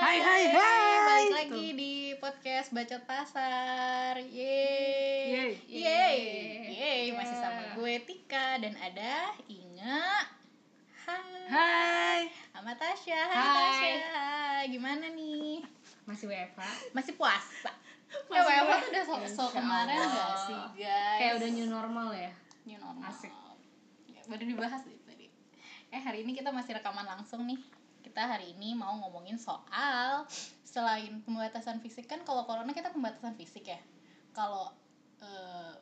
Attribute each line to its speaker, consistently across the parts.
Speaker 1: Hai hai hai.
Speaker 2: balik
Speaker 1: Tuh.
Speaker 2: lagi di podcast Bacot Pasar. Yeay.
Speaker 1: Yeay.
Speaker 2: Yeay. Yeay,
Speaker 3: Ya.
Speaker 2: masih
Speaker 1: Yeah.
Speaker 2: sama gue Tika dan ada Inga. Hai.
Speaker 1: Hai.
Speaker 2: Sama Tasya. Hai,
Speaker 3: Hai.
Speaker 2: Tasya. Hai. Gimana nih?
Speaker 3: masih WFH
Speaker 2: Masih puasa.
Speaker 3: Masih
Speaker 2: eh, WFH
Speaker 3: puasa.
Speaker 2: tuh udah so-so
Speaker 3: Insya
Speaker 2: kemarin
Speaker 3: Allah.
Speaker 2: gak sih, guys?
Speaker 3: kayak udah new normal ya
Speaker 2: New normal.
Speaker 3: Asik.
Speaker 2: Ya, Baru dibahas nih tadi. Eh hari ini kita masih rekaman langsung nih. Kita hari ini mau ngomongin soal selain pembatasan fisik kan kalau corona kita pembatasan fisik ya. Kalau eh,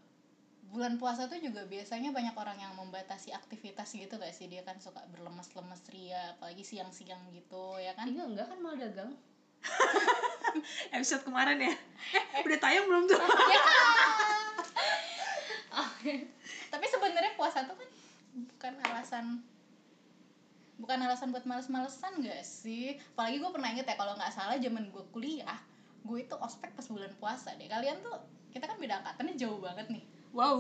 Speaker 2: bulan puasa tuh juga biasanya banyak orang yang membatasi aktivitas gitu gak sih? Dia kan suka berlemes-lemes ria apalagi siang-siang gitu ya kan.
Speaker 3: Ingat enggak kan mal dagang
Speaker 1: Episode kemarin ya. Eh, udah tayang belum tuh?
Speaker 3: Ya. Oh,
Speaker 2: Tapi sebenarnya puasa tuh kan bukan alasan bukan alasan buat males-malesan gak sih? Apalagi gue pernah inget ya kalau nggak salah zaman gue kuliah, gue itu ospek pas bulan puasa deh. Kalian tuh kita kan beda angkatannya jauh banget nih.
Speaker 1: Wow.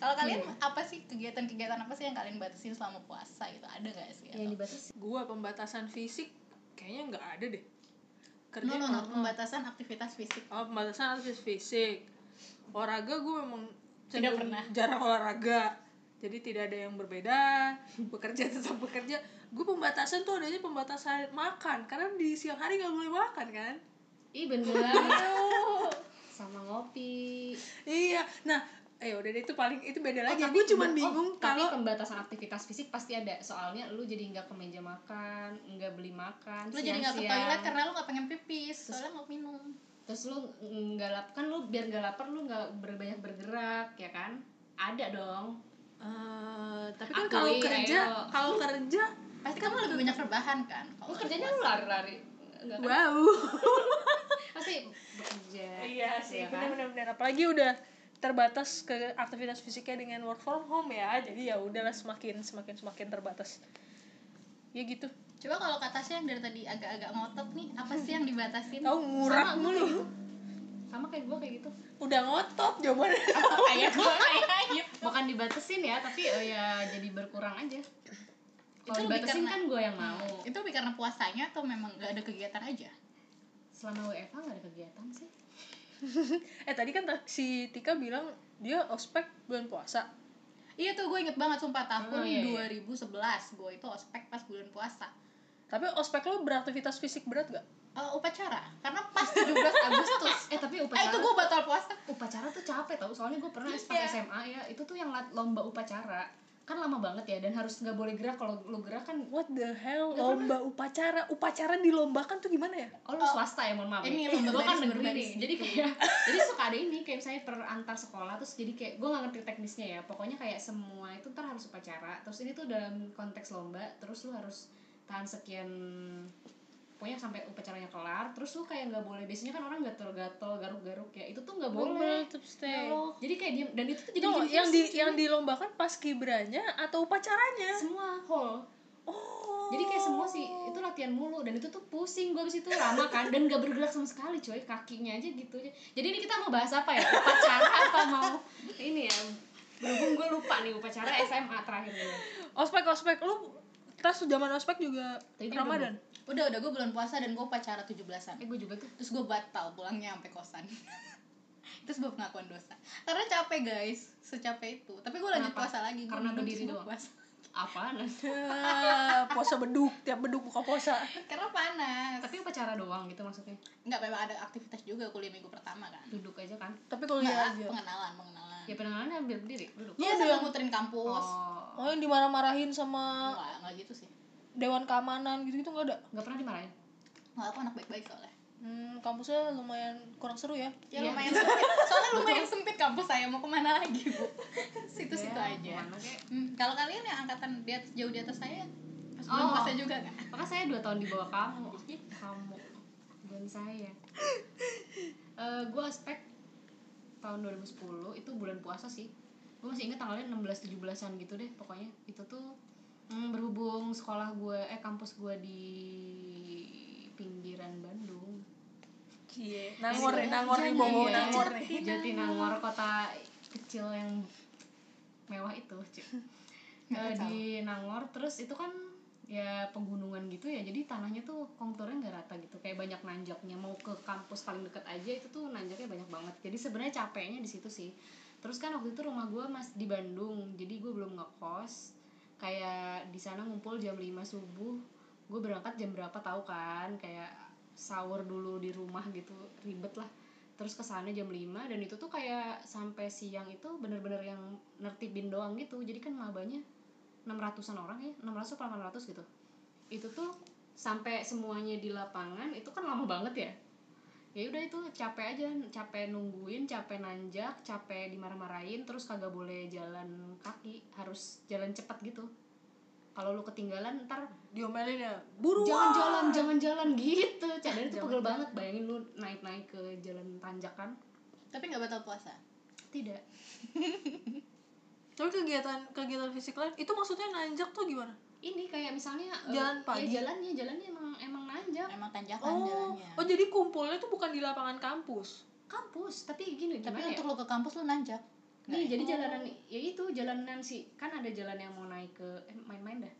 Speaker 2: Kalau kalian apa sih kegiatan-kegiatan apa sih yang kalian batasin selama puasa gitu? Ada gak
Speaker 1: Iya,
Speaker 2: sih?
Speaker 3: yang
Speaker 2: Atau-
Speaker 3: dibatasi
Speaker 1: Gua pembatasan fisik kayaknya nggak ada deh.
Speaker 2: No,
Speaker 1: Kerja
Speaker 2: no, no,
Speaker 1: normal.
Speaker 2: pembatasan aktivitas fisik.
Speaker 1: Oh, pembatasan aktivitas fisik. Olahraga gue memang
Speaker 2: Tidak
Speaker 1: cenderung
Speaker 2: pernah.
Speaker 1: jarang olahraga. Jadi tidak ada yang berbeda. Bekerja tetap bekerja. Gue pembatasan tuh adanya pembatasan makan karena di siang hari nggak boleh makan kan.
Speaker 3: ih bener sama ngopi
Speaker 1: Iya. Nah, eh udah deh itu paling itu beda lagi.
Speaker 3: tapi
Speaker 1: gue cuman
Speaker 3: oh,
Speaker 1: bingung kalau eh,
Speaker 3: tapi pembatasan aktivitas fisik pasti ada soalnya lu jadi nggak ke meja makan nggak beli makan
Speaker 2: Lu jadi nggak ke
Speaker 3: siang-siang.
Speaker 2: toilet kan? karena lu nggak pengen pipis, soalnya mau minum.
Speaker 3: terus lu nggak lap kan lu biar nggak lapar lu nggak berbanyak bergerak ya kan ada dong
Speaker 1: Eh, tapi kan
Speaker 3: Akui,
Speaker 1: kalau
Speaker 3: ayo.
Speaker 1: kerja, kalau kerja,
Speaker 2: Pasti kamu lebih banyak rebahan kan?
Speaker 3: lu
Speaker 2: Kalau
Speaker 3: kerjanya lu lari-lari Nggak kan?
Speaker 1: wow.
Speaker 3: pasti bekerja
Speaker 1: Iya sih,
Speaker 3: ya kan?
Speaker 1: benar-benar. Apalagi udah terbatas ke aktivitas fisiknya dengan work from home ya. Jadi ya udahlah semakin semakin semakin terbatas. Ya gitu.
Speaker 2: Coba kalau kata sih yang dari tadi agak-agak ngotot nih, apa sih yang dibatasin?
Speaker 1: Tahu ngurak
Speaker 3: Sama, gitu.
Speaker 1: mulu.
Speaker 3: sama kayak gua kayak gitu
Speaker 1: Udah ngotot jawabannya.
Speaker 2: kayak gue kayak gitu.
Speaker 3: bukan dibatesin ya tapi eh, ya jadi berkurang aja
Speaker 2: Itu
Speaker 3: kalau
Speaker 2: lebih
Speaker 3: dibatasin
Speaker 2: karena- Hmm.
Speaker 3: kan gue yang mau
Speaker 2: Itu lebih karena puasanya atau memang gak ada kegiatan aja?
Speaker 3: selama WFH nggak ada kegiatan sih
Speaker 1: eh tadi kan ta- si Tika bilang dia ospek bulan puasa.
Speaker 2: Iya tuh gue inget banget sumpah tahun
Speaker 3: Oh, iya, iya.
Speaker 2: 2011 gue itu ospek pas bulan puasa.
Speaker 1: Tapi ospek lo beraktivitas fisik berat gak?
Speaker 2: Eh, upacara karena pas 17 Agustus.
Speaker 3: eh tapi
Speaker 2: eh
Speaker 3: upacara
Speaker 2: itu gue batal puasa.
Speaker 3: upacara tuh capek tau soalnya gue pernah pas
Speaker 2: Iya.
Speaker 3: SMA ya itu tuh yang lat- lomba upacara kan lama banget ya dan harus nggak boleh gerak kalau lu gerak kan
Speaker 1: What the hell? Lomba upacara, upacara dilombakan tuh gimana ya?
Speaker 3: oh lu swasta ya mohon maaf
Speaker 2: Ini
Speaker 3: ya.
Speaker 2: lomba
Speaker 3: Gua kan
Speaker 2: baris,
Speaker 3: negeri
Speaker 2: berbaris.
Speaker 3: nih. jadi kayak jadi suka ada ini kayak misalnya per antar sekolah terus jadi kayak gue nggak ngerti teknisnya ya pokoknya kayak semua itu ntar harus upacara terus ini tuh dalam konteks lomba terus lu harus tahan sekian pokoknya sampai upacaranya kelar terus lu kayak nggak boleh biasanya kan orang gatel-gatel garuk-garuk ya itu tuh nggak boleh
Speaker 1: tetap stay.
Speaker 3: Ya Allah. jadi kayak diem dan itu tuh jadi
Speaker 1: Tuh,
Speaker 3: bikin
Speaker 1: yang di
Speaker 3: pusing,
Speaker 1: yang
Speaker 3: cuy.
Speaker 1: dilombakan pas kibranya atau upacaranya.
Speaker 3: semua hall
Speaker 1: Oh.
Speaker 3: jadi kayak semua sih itu latihan mulu dan itu tuh pusing gue abis itu lama kan dan gak bergerak sama sekali coy kakinya aja gitu aja jadi ini kita mau bahas apa ya upacara apa mau ini ya berhubung gue lupa nih upacara SMA terakhir ini
Speaker 1: ospek ospek lu kita sudah zaman ospek juga
Speaker 3: Tadi udah
Speaker 1: Ramadan.
Speaker 2: Udah udah gue bulan puasa dan gue upacara 17-an.
Speaker 3: eh gue juga tuh
Speaker 2: Terus gue batal pulangnya sampai kosan. itu sebuah pengakuan dosa. Karena capek guys, secapek itu. Tapi gue lanjut
Speaker 3: Kenapa?
Speaker 2: puasa lagi. Gue
Speaker 3: Karena
Speaker 2: minum
Speaker 3: berdiri
Speaker 2: semua
Speaker 3: doang?
Speaker 2: Puasa.
Speaker 3: apaan
Speaker 1: Ah, puasa beduk, tiap beduk buka puasa.
Speaker 2: Karena panas.
Speaker 3: tapi upacara doang gitu maksudnya
Speaker 2: nggak memang ada aktivitas juga kuliah minggu pertama kan
Speaker 3: duduk aja kan
Speaker 1: Tapi kalau
Speaker 2: Nggak,
Speaker 1: ya aja.
Speaker 2: pengenalan pengenalan
Speaker 3: ya penanganannya ambil berdiri duduk
Speaker 2: ya sambil muterin kampus
Speaker 3: Iya, oh
Speaker 1: Oh, yang dimarah-marahin sama
Speaker 2: nggak nggak gitu sih
Speaker 1: dewan keamanan gitu-gitu nggak ada.
Speaker 3: nggak pernah dimarahin
Speaker 2: nggak aku anak baik-baik soalnya
Speaker 1: Hmm, kampusnya lumayan kurang seru ya.
Speaker 2: ya
Speaker 3: Iya.
Speaker 2: lumayan sempit soalnya lumayan sempit kampus saya mau kemana lagi bu situ situ
Speaker 3: Ya,
Speaker 2: aja
Speaker 3: kemana kek.
Speaker 2: Hmm, kalau kalian yang angkatan di atas- jauh di atas saya pas bulan
Speaker 3: Oh.
Speaker 2: puasa juga kan
Speaker 3: Maka saya dua tahun di bawah kamu. kamu dan saya. Eh gue aspek tahun 2010 itu bulan puasa sih. Gue masih ingat tanggalnya 16 17-an gitu deh pokoknya. Itu tuh mm, berhubung sekolah gue eh kampus gue di pinggiran Bandung.
Speaker 1: Iya. Nangor nih, nangor nih,
Speaker 3: Iya,
Speaker 1: bobo
Speaker 3: iya.
Speaker 1: nangor nih.
Speaker 3: Jatinangor kota kecil yang mewah itu, Cik. Eh, di Nangor terus itu kan ya pegunungan gitu ya jadi tanahnya tuh konturnya nggak rata gitu kayak banyak nanjaknya mau ke kampus paling deket aja itu tuh nanjaknya banyak banget jadi sebenarnya capeknya di situ sih terus kan waktu itu rumah gue mas di Bandung jadi gue belum ngekos kayak di sana ngumpul jam 5 subuh gue berangkat jam berapa tahu kan kayak sahur dulu di rumah gitu ribet lah terus ke sana jam 5 dan itu tuh kayak sampai siang itu bener-bener yang nertibin doang gitu jadi kan mabanya 600-an orang ya 600 apa 800 gitu itu tuh sampai semuanya di lapangan itu kan lama banget ya ya udah itu capek aja capek nungguin capek nanjak capek dimarah-marahin terus kagak boleh jalan kaki harus jalan cepat gitu kalau lu ketinggalan ntar
Speaker 1: diomelin ya buruan
Speaker 3: jangan jalan jangan jalan gitu cadar itu
Speaker 1: Jangan
Speaker 3: pegel banget bayangin lu naik naik ke jalan tanjakan
Speaker 2: Tapi nggak batal puasa.
Speaker 3: tidak
Speaker 1: tapi kegiatan kegiatan fisik lain itu maksudnya nanjak tuh gimana
Speaker 3: ini kayak misalnya eh,
Speaker 1: Jalan pagi.
Speaker 3: ya jalannya jalannya emang emang nanjak
Speaker 2: Emang tanjakan
Speaker 1: oh
Speaker 2: jalannya.
Speaker 1: oh jadi kumpulnya tuh bukan di lapangan kampus
Speaker 3: kampus tapi gini
Speaker 2: Tapi
Speaker 3: gimana ya?
Speaker 2: untuk lo ke kampus lo nanjak.
Speaker 3: Nih,
Speaker 2: Nggak ya?
Speaker 3: jadi jalanan ya itu jalanan sih kan ada jalan yang mau naik ke eh, main-main dah.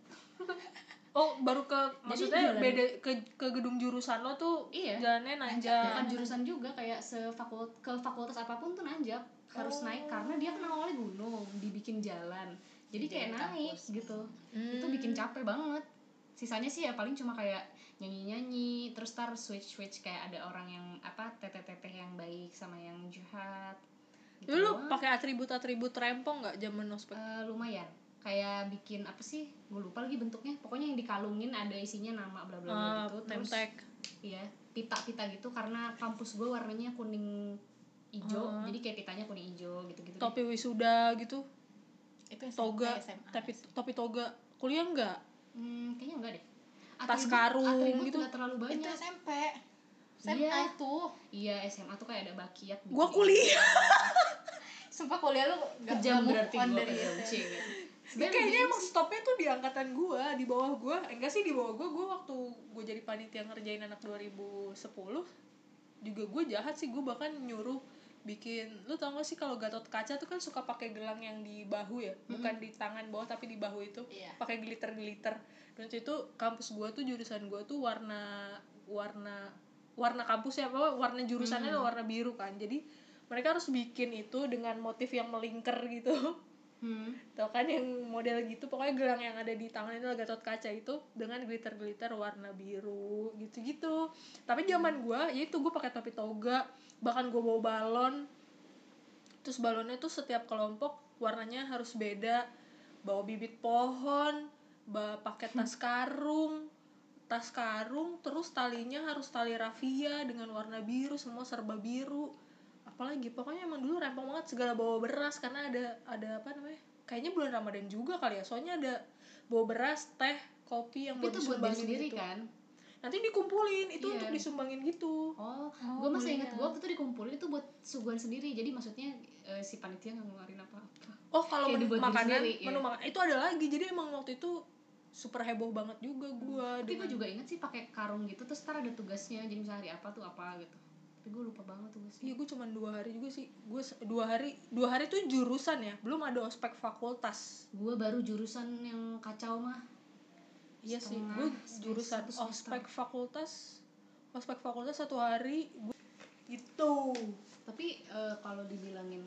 Speaker 1: oh baru ke maksudnya
Speaker 3: jalan-
Speaker 1: beda ke ke gedung jurusan lo tuh
Speaker 3: Iya.
Speaker 1: jalannya
Speaker 3: Bukan
Speaker 1: nanjak
Speaker 3: jurusan juga kayak sefakult ke fakultas apapun tuh nanjak harus
Speaker 1: Oh.
Speaker 3: naik karena dia kan awalnya gunung dibikin jalan. Jadi kayak
Speaker 2: Jadi
Speaker 3: naik
Speaker 2: Iya, kampus.
Speaker 3: gitu.
Speaker 1: Hmm.
Speaker 3: Itu bikin capek banget. Sisanya sih ya paling cuma kayak nyanyi-nyanyi terus tar switch-switch kayak ada orang yang apa teteh-teteh yang baik sama yang jahat. Gitu
Speaker 1: Dulu
Speaker 3: doang.
Speaker 1: pakai atribut-atribut rempong nggak zaman ospek?
Speaker 3: Eh, lumayan kayak bikin apa sih gue lupa lagi bentuknya pokoknya yang dikalungin ada isinya nama bla bla bla
Speaker 1: Ah,
Speaker 3: gitu terus
Speaker 1: nemtek.
Speaker 3: iya pita pita gitu karena kampus gue warnanya kuning hijau
Speaker 1: Ah.
Speaker 3: jadi kayak pitanya kuning hijau gitu gitu
Speaker 1: topi wisuda gitu,
Speaker 2: itu SMP,
Speaker 1: toga,
Speaker 2: SMA.
Speaker 1: tapi topi toga. Kuliah enggak?
Speaker 3: hmm, kayaknya enggak deh
Speaker 1: Tas karung
Speaker 3: atribut
Speaker 1: gitu.
Speaker 3: nggak terlalu
Speaker 2: itu
Speaker 3: banyak
Speaker 2: SMP. SMA
Speaker 3: Iya.
Speaker 2: itu.
Speaker 3: iya SMA tuh kayak ada bakiak gitu.
Speaker 1: Gua kuliah.
Speaker 2: Sumpah kuliah lo nggak nggak
Speaker 3: kejam
Speaker 2: move
Speaker 3: berarti
Speaker 2: on ya.
Speaker 3: gue
Speaker 2: dari
Speaker 3: kejam
Speaker 2: itu.
Speaker 3: cie gitu. Sebenarnya
Speaker 1: Kayaknya
Speaker 3: begini
Speaker 1: emang stopnya tuh di angkatan gua, di bawah gua. Eh, Enggak sih di bawah gua, gua waktu gua jadi panitia ngerjain anak 2010 juga gua jahat sih, gua bahkan nyuruh bikin lu tau gak sih kalau Gatot Kaca tuh kan suka pakai gelang yang di bahu ya bukan di tangan bawah tapi di bahu itu
Speaker 2: Iya.
Speaker 1: pakai glitter glitter dan waktu itu kampus gua tuh jurusan gua tuh warna warna warna kampusnya apa warna jurusannya warna biru kan jadi mereka harus bikin itu dengan motif yang melingkar gitu
Speaker 3: Hmm.
Speaker 1: Tau kan yang model gitu pokoknya gelang yang ada di tangan itu Gatot Kaca itu dengan glitter glitter warna biru gitu gitu tapi zaman gua ya itu gue pakai topi toga bahkan gue bawa balon terus balonnya tuh setiap kelompok warnanya harus beda bawa bibit pohon bawa
Speaker 3: Hmm.
Speaker 1: pakai tas karung tas karung terus talinya harus tali rafia dengan warna biru semua serba biru apalagi pokoknya emang dulu rempong banget segala bawa beras karena ada ada apa namanya kayaknya bulan ramadan juga kali ya soalnya ada bawa beras teh kopi yang
Speaker 3: tapi itu buat diri
Speaker 1: disumbangin
Speaker 3: sendiri
Speaker 1: gitu.
Speaker 3: kan
Speaker 1: nanti dikumpulin itu
Speaker 3: Iya.
Speaker 1: untuk disumbangin gitu
Speaker 2: Oh,
Speaker 3: Oh, gue masih
Speaker 2: boleh
Speaker 3: inget
Speaker 2: ya.
Speaker 3: gue waktu itu dikumpulin itu buat suguhan sendiri. Jadi maksudnya eh, si panitia nggak ngeluarin apa-apa.
Speaker 1: Oh kalau
Speaker 3: Kayak
Speaker 1: menu
Speaker 3: dibuat diri
Speaker 1: makanan,
Speaker 3: sendiri,
Speaker 1: menu
Speaker 3: iya.
Speaker 1: makan itu ada lagi. Jadi emang waktu itu super heboh banget juga gua.
Speaker 3: Tapi gue
Speaker 1: dengan-
Speaker 3: juga inget sih pakai karung gitu. Terus ntar ada tugasnya. Jadi misalnya hari apa tuh apa gitu. Tapi gue lupa banget
Speaker 1: Iya
Speaker 3: tugasnya.
Speaker 1: gue cuma dua hari juga sih. Gue dua hari dua hari tuh jurusan ya. Belum ada ospek fakultas.
Speaker 3: Gue baru jurusan yang kacau mah.
Speaker 1: Iya sih.
Speaker 3: Setengah
Speaker 1: Gue
Speaker 3: semester,
Speaker 1: jurusan
Speaker 3: satu semester.
Speaker 1: ospek fakultas. Ospek fakultas satu hari. Gua... Gitu.
Speaker 3: Tapi eh, kalau dibilangin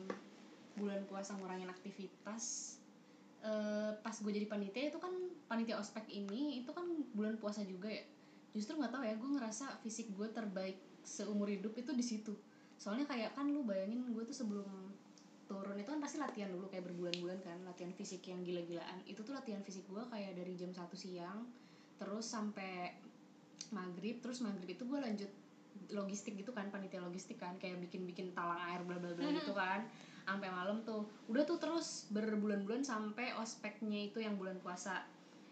Speaker 3: bulan puasa ngurangin aktivitas eh, pas gue jadi panitia itu kan panitia ospek ini itu kan bulan puasa juga ya justru nggak tahu ya gue ngerasa fisik gue terbaik seumur hidup itu di situ soalnya kayak kan lu bayangin gue tuh sebelum turun itu kan pasti latihan dulu kayak berbulan-bulan kan latihan fisik yang gila-gilaan itu tuh latihan fisik gue kayak dari jam 1 siang terus sampai maghrib terus maghrib itu gue lanjut logistik gitu kan panitia logistik kan kayak bikin-bikin talang air bla bla bla gitu kan sampai malam tuh udah tuh terus berbulan-bulan sampai ospeknya itu yang bulan puasa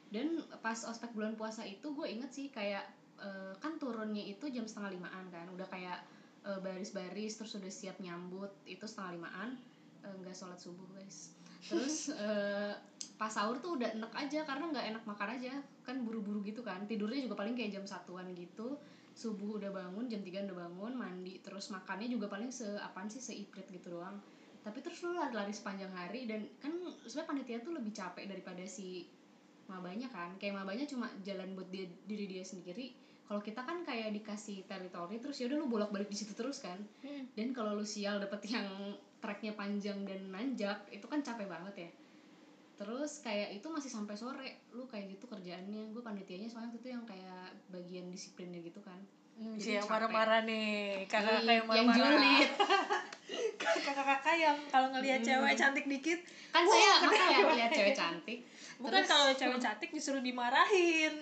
Speaker 3: dan pas ospek bulan puasa itu gue inget sih kayak eh, kan turunnya itu jam setengah limaan kan udah kayak eh, baris-baris terus udah siap nyambut itu setengah limaan Eh, nggak sholat subuh guys terus eh, pas sahur tuh udah enak aja karena nggak enak makan aja kan buru-buru gitu kan tidurnya juga paling kayak jam satuan gitu subuh udah bangun jam 3 udah bangun mandi terus makannya juga paling seapaan sih seiprit gitu doang tapi terus lu lari-lari sepanjang hari dan kan sebenarnya panitia tuh lebih capek daripada si mabanya kan kayak mabanya cuma jalan buat dia, diri dia sendiri kalau kita kan kayak dikasih teritori terus ya udah lu bolak balik di situ terus kan
Speaker 1: Hmm.
Speaker 3: dan kalau lu sial dapet yang treknya panjang dan nanjak itu kan capek banget ya terus kayak itu masih sampai sore lu kayak gitu kerjaannya gue panitianya soalnya waktu itu yang kayak bagian disiplinnya gitu kan
Speaker 1: Hmm,
Speaker 3: Jadi
Speaker 1: si yang
Speaker 3: capek. Iya,
Speaker 1: marah-marah nih kakak-kakak yang
Speaker 3: yang
Speaker 1: marah-marah
Speaker 3: julid
Speaker 1: kakak-kakak yang kalau ngelihat
Speaker 3: Iya.
Speaker 1: cewek cantik dikit
Speaker 3: kan saya masa ya ngeliat cewek cantik
Speaker 1: bukan
Speaker 3: Terus-
Speaker 1: kalau cewek cantik disuruh dimarahin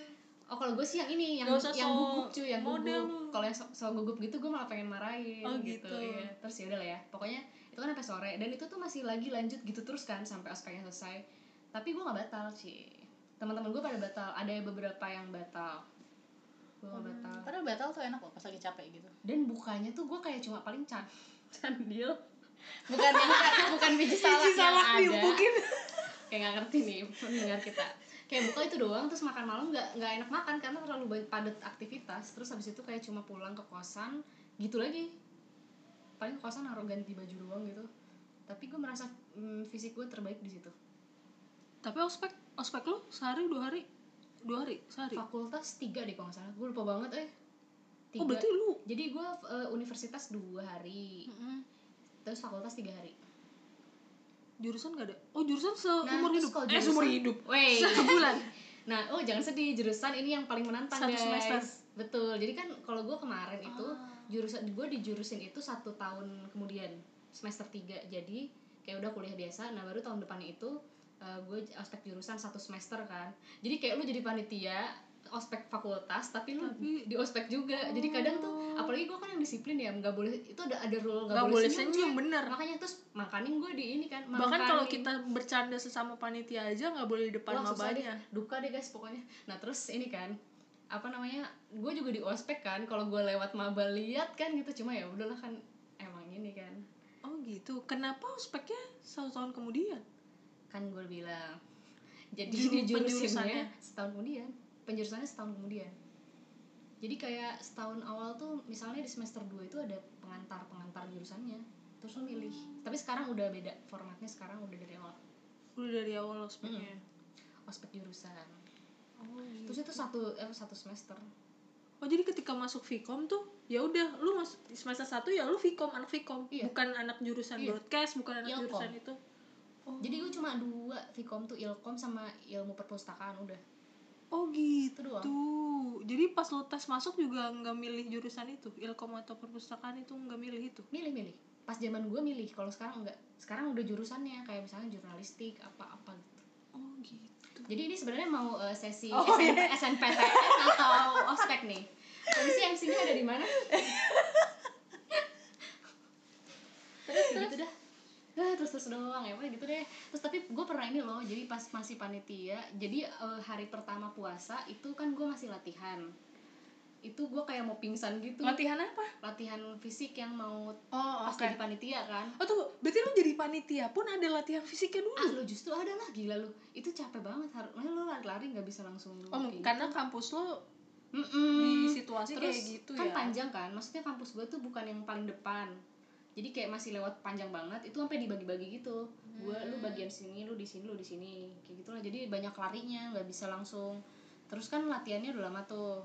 Speaker 3: oh kalau gue sih yang ini yang
Speaker 1: Gak usah
Speaker 3: yang
Speaker 1: sok
Speaker 3: gugup cuy yang
Speaker 1: model
Speaker 3: gugup
Speaker 1: lu.
Speaker 3: kalau yang sok sok gugup gitu gue malah pengen marahin
Speaker 1: Oh,
Speaker 3: gitu,
Speaker 1: gitu.
Speaker 3: ya terus ya udah lah ya pokoknya itu kan sampai sore dan itu tuh masih lagi lanjut gitu terus kan sampai ospeknya selesai tapi gue nggak batal sih teman-teman gue pada batal ada beberapa yang batal gue
Speaker 1: Oh.
Speaker 3: nggak batal
Speaker 2: Padahal batal tuh enak loh pas lagi capek gitu.
Speaker 3: dan bukanya tuh gue kayak cuma paling can candil
Speaker 2: Bukan yang bukan biji salak
Speaker 1: si
Speaker 2: yang
Speaker 1: salak
Speaker 2: ada.
Speaker 1: diumpukin
Speaker 3: kayak nggak ngerti nih pendengar kita kayak buka itu doang terus makan malam nggak nggak enak makan karena terlalu banyak padat aktivitas terus habis itu kayak cuma pulang ke kosan gitu lagi paling ke kosan harus ganti baju doang gitu tapi gue merasa mm, fisik gue terbaik di situ
Speaker 1: tapi ospek ospek lu sehari dua hari dua hari sehari
Speaker 3: fakultas tiga deh kalau nggak salah gue lupa banget eh tiga
Speaker 1: oh berarti lu
Speaker 3: jadi gue eh, universitas dua hari terus fakultas tiga hari
Speaker 1: jurusan gak ada oh jurusan seumur
Speaker 3: terus
Speaker 1: hidup
Speaker 3: kalau
Speaker 1: eh seumur
Speaker 3: jurusan-
Speaker 1: hidup
Speaker 3: Wey.
Speaker 1: sebulan
Speaker 3: Nah, oh jangan sedih, jurusan ini yang paling menantang
Speaker 1: Satu
Speaker 3: guys.
Speaker 1: semester.
Speaker 3: Betul. Jadi kan kalau gue kemarin
Speaker 1: Gitu.
Speaker 3: itu jurusan gue di jurusin itu satu tahun kemudian semester 3 Jadi kayak udah kuliah biasa. Nah baru tahun depannya itu gue ospek jurusan satu semester kan. Jadi kayak lu jadi panitia ospek fakultas tapi lu
Speaker 1: Tapi- Oh.
Speaker 3: di ospek juga.
Speaker 1: Ah.
Speaker 3: Jadi kadang tuh apalagi gue kan yang disiplin ya nggak boleh itu ada ada rule nggak
Speaker 1: nggak boleh
Speaker 3: boleh, senyum.
Speaker 1: senyum bener
Speaker 3: Makanya terus makanin gue di ini kan.
Speaker 1: bahkan kalau
Speaker 3: makanin.
Speaker 1: kita bercanda sesama panitia aja nggak boleh di depan
Speaker 3: Wah, susah deh.
Speaker 1: mabanya
Speaker 3: duka deh guys pokoknya nah terus ini kan apa namanya gue juga di ospek kan kalau gue lewat maba lihat kan gitu cuma ya udahlah kan emang ini kan
Speaker 1: oh gitu kenapa ospeknya satu tahun kemudian
Speaker 3: kan gue bilang jadi
Speaker 1: Juru-
Speaker 3: ini
Speaker 1: penjurusannya.
Speaker 3: jurusannya setahun kemudian penjurusannya setahun kemudian jadi kayak setahun awal tuh misalnya di semester 2 itu ada pengantar pengantar jurusannya terus lu milih tapi sekarang udah beda formatnya sekarang udah dari awal
Speaker 1: udah dari awal ospeknya
Speaker 3: ospek jurusan
Speaker 1: oh, gitu.
Speaker 3: terus itu satu eh, satu semester
Speaker 1: Oh jadi ketika masuk Vkom tuh ya udah lu mas di semester satu ya lu Vkom anak Vkom
Speaker 3: Iya.
Speaker 1: bukan anak jurusan
Speaker 3: Iya.
Speaker 1: broadcast bukan anak
Speaker 2: Ilkom.
Speaker 1: jurusan itu Oh.
Speaker 3: Jadi gue cuma dua, Vkom tuh Ilkom sama ilmu perpustakaan udah.
Speaker 1: oh gitu
Speaker 3: doang.
Speaker 1: jadi pas lu tes masuk juga nggak milih jurusan itu Ilkom atau perpustakaan itu nggak milih itu
Speaker 3: Milih-milih. Pas zaman gue milih, kalau sekarang enggak. Sekarang udah jurusannya kayak misalnya jurnalistik apa-apa gitu.
Speaker 1: oh gitu
Speaker 3: Jadi ini sebenarnya mau eh, sesi
Speaker 1: Oh,
Speaker 3: SN-
Speaker 1: iya.
Speaker 3: SNPTN atau ospek nih. Kondisi MC-nya ada di mana? terus gitu dah. Ah, terus terus doang ya, pokoknya gitu deh. Terus tapi gue pernah ini loh, jadi pas masih panitia, jadi eh, hari pertama puasa itu kan gue masih latihan. Itu gue kayak mau pingsan gitu.
Speaker 1: latihan apa
Speaker 3: latihan fisik yang mau
Speaker 1: oh
Speaker 3: pas jadi panitia kan
Speaker 1: oh tuh berarti lu jadi panitia pun ada latihan fisiknya dulu
Speaker 3: ah lu justru ada lah gila lu itu capek banget harusnya lu lari-lari nggak bisa langsung lu
Speaker 1: oh
Speaker 3: kayak
Speaker 1: karena kampus lu
Speaker 3: gitu. Mm-mm.
Speaker 1: di situasi
Speaker 3: terus
Speaker 1: kayak gitu
Speaker 3: kan
Speaker 1: ya
Speaker 3: panjang kan maksudnya kampus gue tuh bukan yang paling depan jadi kayak masih lewat panjang banget itu sampai dibagi-bagi gitu gue lu
Speaker 1: Hmm.
Speaker 3: bagian sini lu di sini lu di sini kayak gitulah jadi banyak larinya nggak bisa langsung terus kan latihannya udah lama tuh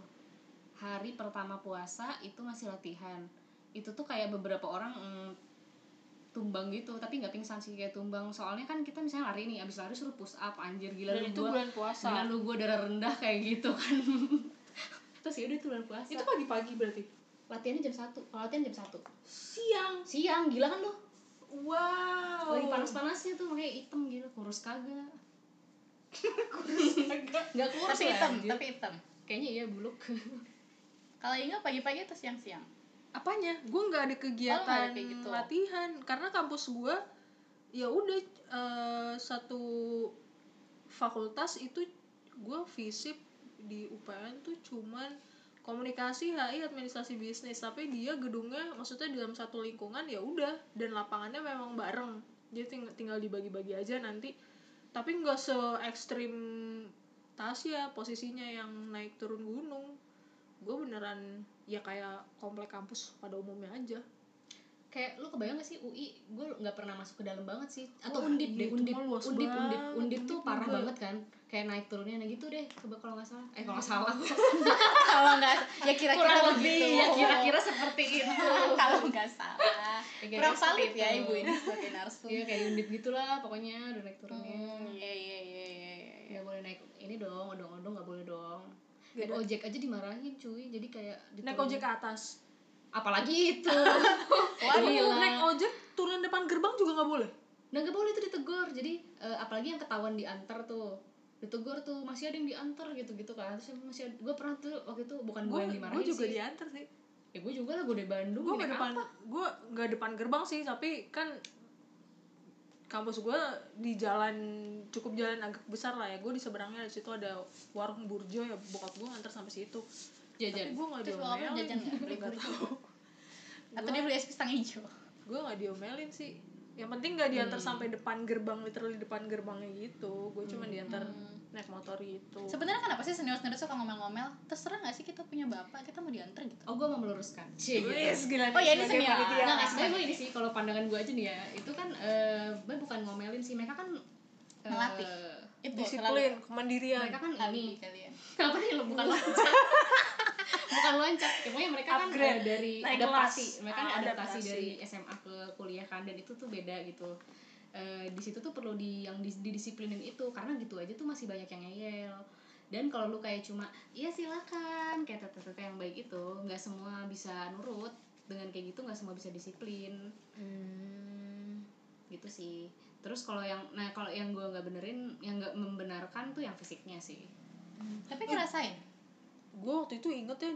Speaker 3: hari pertama puasa itu masih latihan itu tuh kayak beberapa orang mm, tumbang gitu tapi nggak pingsan sih kayak tumbang soalnya kan kita misalnya lari nih abis lari suruh push up anjir gila
Speaker 1: dan
Speaker 3: lu
Speaker 1: itu
Speaker 3: gue
Speaker 1: bulan puasa
Speaker 3: gila lu gue darah rendah kayak gitu kan terus
Speaker 1: ya
Speaker 3: yaudah itu bulan puasa
Speaker 1: itu pagi-pagi berarti
Speaker 3: latihannya jam satu kalau latihan jam satu
Speaker 1: siang
Speaker 3: siang gila kan lu
Speaker 1: wow
Speaker 2: Oh.
Speaker 3: lagi panas-panasnya tuh makanya hitam gila kurus kagak nggak kurus
Speaker 2: Tapi
Speaker 3: lah,
Speaker 2: hitam,
Speaker 3: anjir.
Speaker 2: tapi hitam.
Speaker 3: kayaknya iya buluk
Speaker 2: Kalau ingat pagi-pagi atau siang-siang.
Speaker 1: apanya gue nggak
Speaker 2: Oh,
Speaker 1: ada
Speaker 2: nggak
Speaker 1: kegiatan
Speaker 2: ada kayak gitu.
Speaker 1: latihan karena kampus gue ya udah eh, satu fakultas itu gue visip di UPN tuh cuman komunikasi HI administrasi bisnis tapi dia gedungnya maksudnya dalam satu lingkungan ya udah dan lapangannya memang bareng jadi ting- tinggal dibagi-bagi aja nanti tapi nggak se ekstrim Tasya posisinya yang naik turun gunung gue beneran ya kayak komplek kampus pada umumnya aja
Speaker 3: kayak lu kebayang gak sih UI gue nggak pernah masuk ke dalam banget sih atau
Speaker 1: Wah,
Speaker 3: undip deh
Speaker 1: itu
Speaker 3: Iya, undip
Speaker 1: mah luas
Speaker 3: undip undip
Speaker 1: banget.
Speaker 3: undip tuh
Speaker 1: Undip
Speaker 3: parah
Speaker 1: juga.
Speaker 3: banget kan kayak naik turunnya nah gitu deh coba kalau nggak salah eh kalau nggak salah
Speaker 2: kalau nggak ya kira-kira
Speaker 3: kurang
Speaker 2: begitu
Speaker 3: lebih ya kira-kira seperti itu
Speaker 2: kalau nggak salah
Speaker 3: Ya, kayak
Speaker 2: kurang
Speaker 3: seperti
Speaker 2: valid ya
Speaker 3: itu.
Speaker 2: ibu ini sebagai narsum
Speaker 3: iya kayak undip gitulah pokoknya udah naik turunnya
Speaker 2: Hmm, iya iya iya iya iya, iya
Speaker 3: nggak boleh naik ini dong odong-odong nggak boleh dong
Speaker 1: Nggak
Speaker 3: naik
Speaker 1: ada. Nah.
Speaker 3: ojek aja dimarahin cuy jadi kayak
Speaker 1: naik
Speaker 3: diturun-
Speaker 1: ojek ke atas
Speaker 3: apalagi itu
Speaker 1: Nah. Waduh,
Speaker 3: Gila.
Speaker 1: naik ojek turun depan gerbang juga nggak boleh
Speaker 3: nah nggak boleh tuh ditegur jadi eh, apalagi yang ketahuan diantar tuh ditegur tuh masih ada yang diantar gitu gitu kan terus masih ada, gue pernah tuh waktu itu bukan gue
Speaker 1: gue
Speaker 3: yang dimarahin
Speaker 1: juga
Speaker 3: sih
Speaker 1: diantar sih
Speaker 3: ya gue juga lah gue dari Bandung ya kan?
Speaker 1: gue nggak
Speaker 3: naik
Speaker 1: depan
Speaker 3: apa?
Speaker 1: gue nggak depan gerbang sih tapi kan kampus gue di jalan cukup jalan agak besar lah ya gue di seberangnya di situ ada warung burjo ya bokap gue nganter sampai situ
Speaker 3: jajan
Speaker 1: tapi gue nggak
Speaker 2: terus bokap lu
Speaker 1: diomelin
Speaker 2: jajan nggak beli
Speaker 1: Nggak
Speaker 2: burjo atau dia beli es pisang hijau
Speaker 1: gue nggak diomelin sih yang penting nggak diantar
Speaker 2: Hmm.
Speaker 1: sampai depan gerbang literally depan gerbangnya gitu gue
Speaker 2: Hmm.
Speaker 1: cuma diantar naik motor gitu
Speaker 2: sebenarnya kenapa sih senior senior suka ngomel-ngomel terserah nggak sih kita punya bapak kita mau diantar gitu
Speaker 3: oh gue mau meluruskan Cie, gitu.
Speaker 1: Wis, gila
Speaker 2: Oh, ya,
Speaker 1: nih, gitu
Speaker 2: ini
Speaker 1: sebagai
Speaker 2: senior.
Speaker 1: panitia.
Speaker 3: Nah, nggak, sebenarnya gue ini sih kalau pandangan gue aja nih ya itu kan eh gue bukan ngomelin sih mereka kan eh,
Speaker 2: Melatih. itu
Speaker 1: disiplin kemandirian
Speaker 3: mereka kan ini
Speaker 2: kali ya. kalian
Speaker 3: apa nih lo
Speaker 1: Iya.
Speaker 3: bukan loncat bukan loncat ya, pokoknya mereka kan
Speaker 1: Upgrade.
Speaker 3: eh, dari
Speaker 1: Naik
Speaker 3: adaptasi
Speaker 1: kelas.
Speaker 3: mereka kan
Speaker 1: Ah,
Speaker 3: adaptasi,
Speaker 1: adaptasi.
Speaker 3: dari SMA ke kuliah kan dan itu tuh beda gitu Eh, di situ tuh perlu di yang dis- didisiplinin itu karena gitu aja tuh masih banyak yang ngeyel dan kalau lu kayak cuma iya silakan kayak tetep yang baik itu nggak semua bisa nurut dengan kayak gitu nggak semua bisa disiplin
Speaker 1: Hmm.
Speaker 3: gitu sih terus kalau yang nah kalau yang gue nggak benerin yang nggak membenarkan tuh yang fisiknya sih
Speaker 2: tapi ngerasain
Speaker 1: gue waktu itu inget ya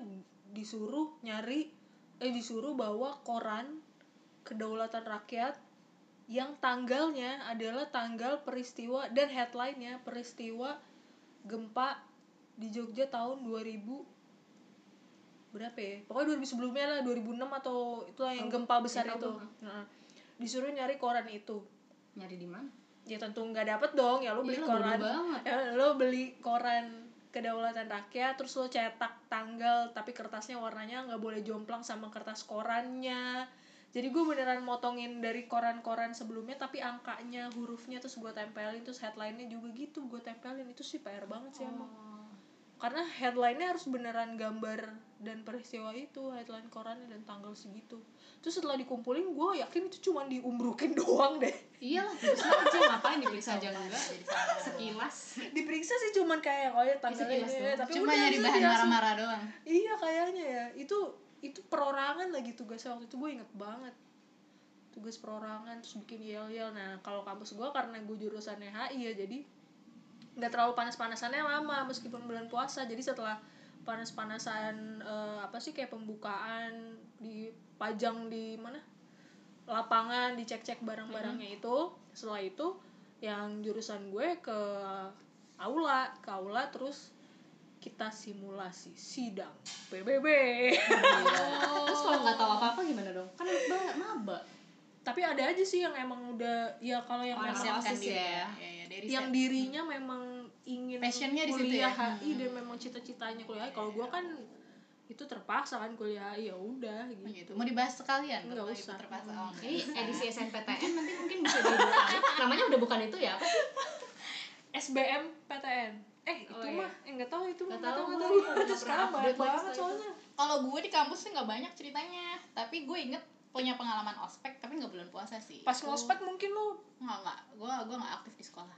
Speaker 1: disuruh nyari eh disuruh bawa koran kedaulatan rakyat yang tanggalnya adalah tanggal peristiwa dan headline-nya peristiwa gempa di Jogja tahun 2000 berapa ya? Pokoknya 2000 sebelumnya lah, 2006 atau itulah yang gempa besar
Speaker 3: tahu
Speaker 1: itu.
Speaker 3: gua.
Speaker 1: Nah, disuruh nyari koran itu.
Speaker 3: nyari di mana
Speaker 1: Ya tentu nggak dapet dong, ya lu beli
Speaker 3: Iya, bodoh
Speaker 1: koran
Speaker 3: banget
Speaker 1: Ya, lo beli koran kedaulatan rakyat terus lo cetak tanggal tapi kertasnya warnanya nggak boleh jomplang sama kertas korannya jadi gue beneran motongin dari koran-koran sebelumnya tapi angkanya hurufnya terus gue tempelin terus headline-nya juga gitu gue tempelin itu sih PR banget sih
Speaker 2: Oh.
Speaker 1: emang karena headline-nya harus beneran gambar dan peristiwa itu headline korannya dan tanggal segitu terus setelah dikumpulin gue yakin itu cuma diumbrukin doang deh
Speaker 3: iyalah terus aja ngapain diperiksa aja
Speaker 2: Coba
Speaker 3: enggak
Speaker 2: jadi salah.
Speaker 3: sekilas
Speaker 1: diperiksa sih cuman kayak oh ya tanggalnya
Speaker 3: sekilas
Speaker 1: ini,
Speaker 3: doang.
Speaker 1: tapi
Speaker 2: cuma
Speaker 1: udah,
Speaker 2: nyari
Speaker 1: terus
Speaker 2: bahan
Speaker 1: dia langsung-
Speaker 2: marah-marah doang
Speaker 1: Iya kayaknya ya. Itu itu perorangan lagi tugasnya waktu itu gue inget banget. Tugas perorangan terus bikin yel-yel. Nah, kalau kampus gue karena gue jurusannya HI ya jadi nggak terlalu panas-panasannya lama meskipun bulan puasa. Jadi setelah panas-panasan eh, apa sih kayak pembukaan di pajang di mana? lapangan dicek-cek barang-barangnya itu setelah itu yang jurusan gue ke aula ke aula terus kita simulasi sidang PBB
Speaker 2: Oh.
Speaker 3: terus kalau nggak tahu apa apa gimana dong kan enak banget maba
Speaker 1: tapi ada aja sih yang emang udah ya kalau yang
Speaker 3: Oh,
Speaker 1: memang
Speaker 3: emang
Speaker 2: Mempersiapkan
Speaker 3: osis
Speaker 2: diri
Speaker 3: ya.
Speaker 2: Iya, iya, dari
Speaker 1: yang
Speaker 2: set.
Speaker 1: dirinya memang ingin
Speaker 2: Passionnya di situ
Speaker 1: kuliah
Speaker 2: ya?
Speaker 1: HI dan memang cita-citanya kuliah HI kalau gue kan itu terpaksa kan kuliah HI ya
Speaker 2: Oh,
Speaker 1: udah gitu
Speaker 2: gitu. mau dibahas sekalian
Speaker 1: Nggak
Speaker 2: Kalau itu
Speaker 1: usah.
Speaker 2: terpaksa oh, nggak
Speaker 3: jadi
Speaker 2: usah.
Speaker 3: edisi SNPTN nanti mungkin bisa dibuka namanya udah bukan itu ya apa sih
Speaker 1: SBM PTN eh itu
Speaker 3: Oh, iya.
Speaker 1: mah eh, nggak tahu itu mah
Speaker 3: Nggak tahu,
Speaker 1: nggak
Speaker 3: gue
Speaker 1: tahu
Speaker 3: nggak
Speaker 1: itu
Speaker 3: pernah
Speaker 1: sekarang banyak
Speaker 3: update lagi
Speaker 1: banget
Speaker 3: setelah itu.
Speaker 1: soalnya
Speaker 2: kalau gue di kampus sih nggak banyak ceritanya tapi gue inget punya pengalaman ospek tapi nggak bulan puasa sih
Speaker 1: pas ngospek mungkin lo
Speaker 2: nggak nggak gue gue nggak aktif di sekolah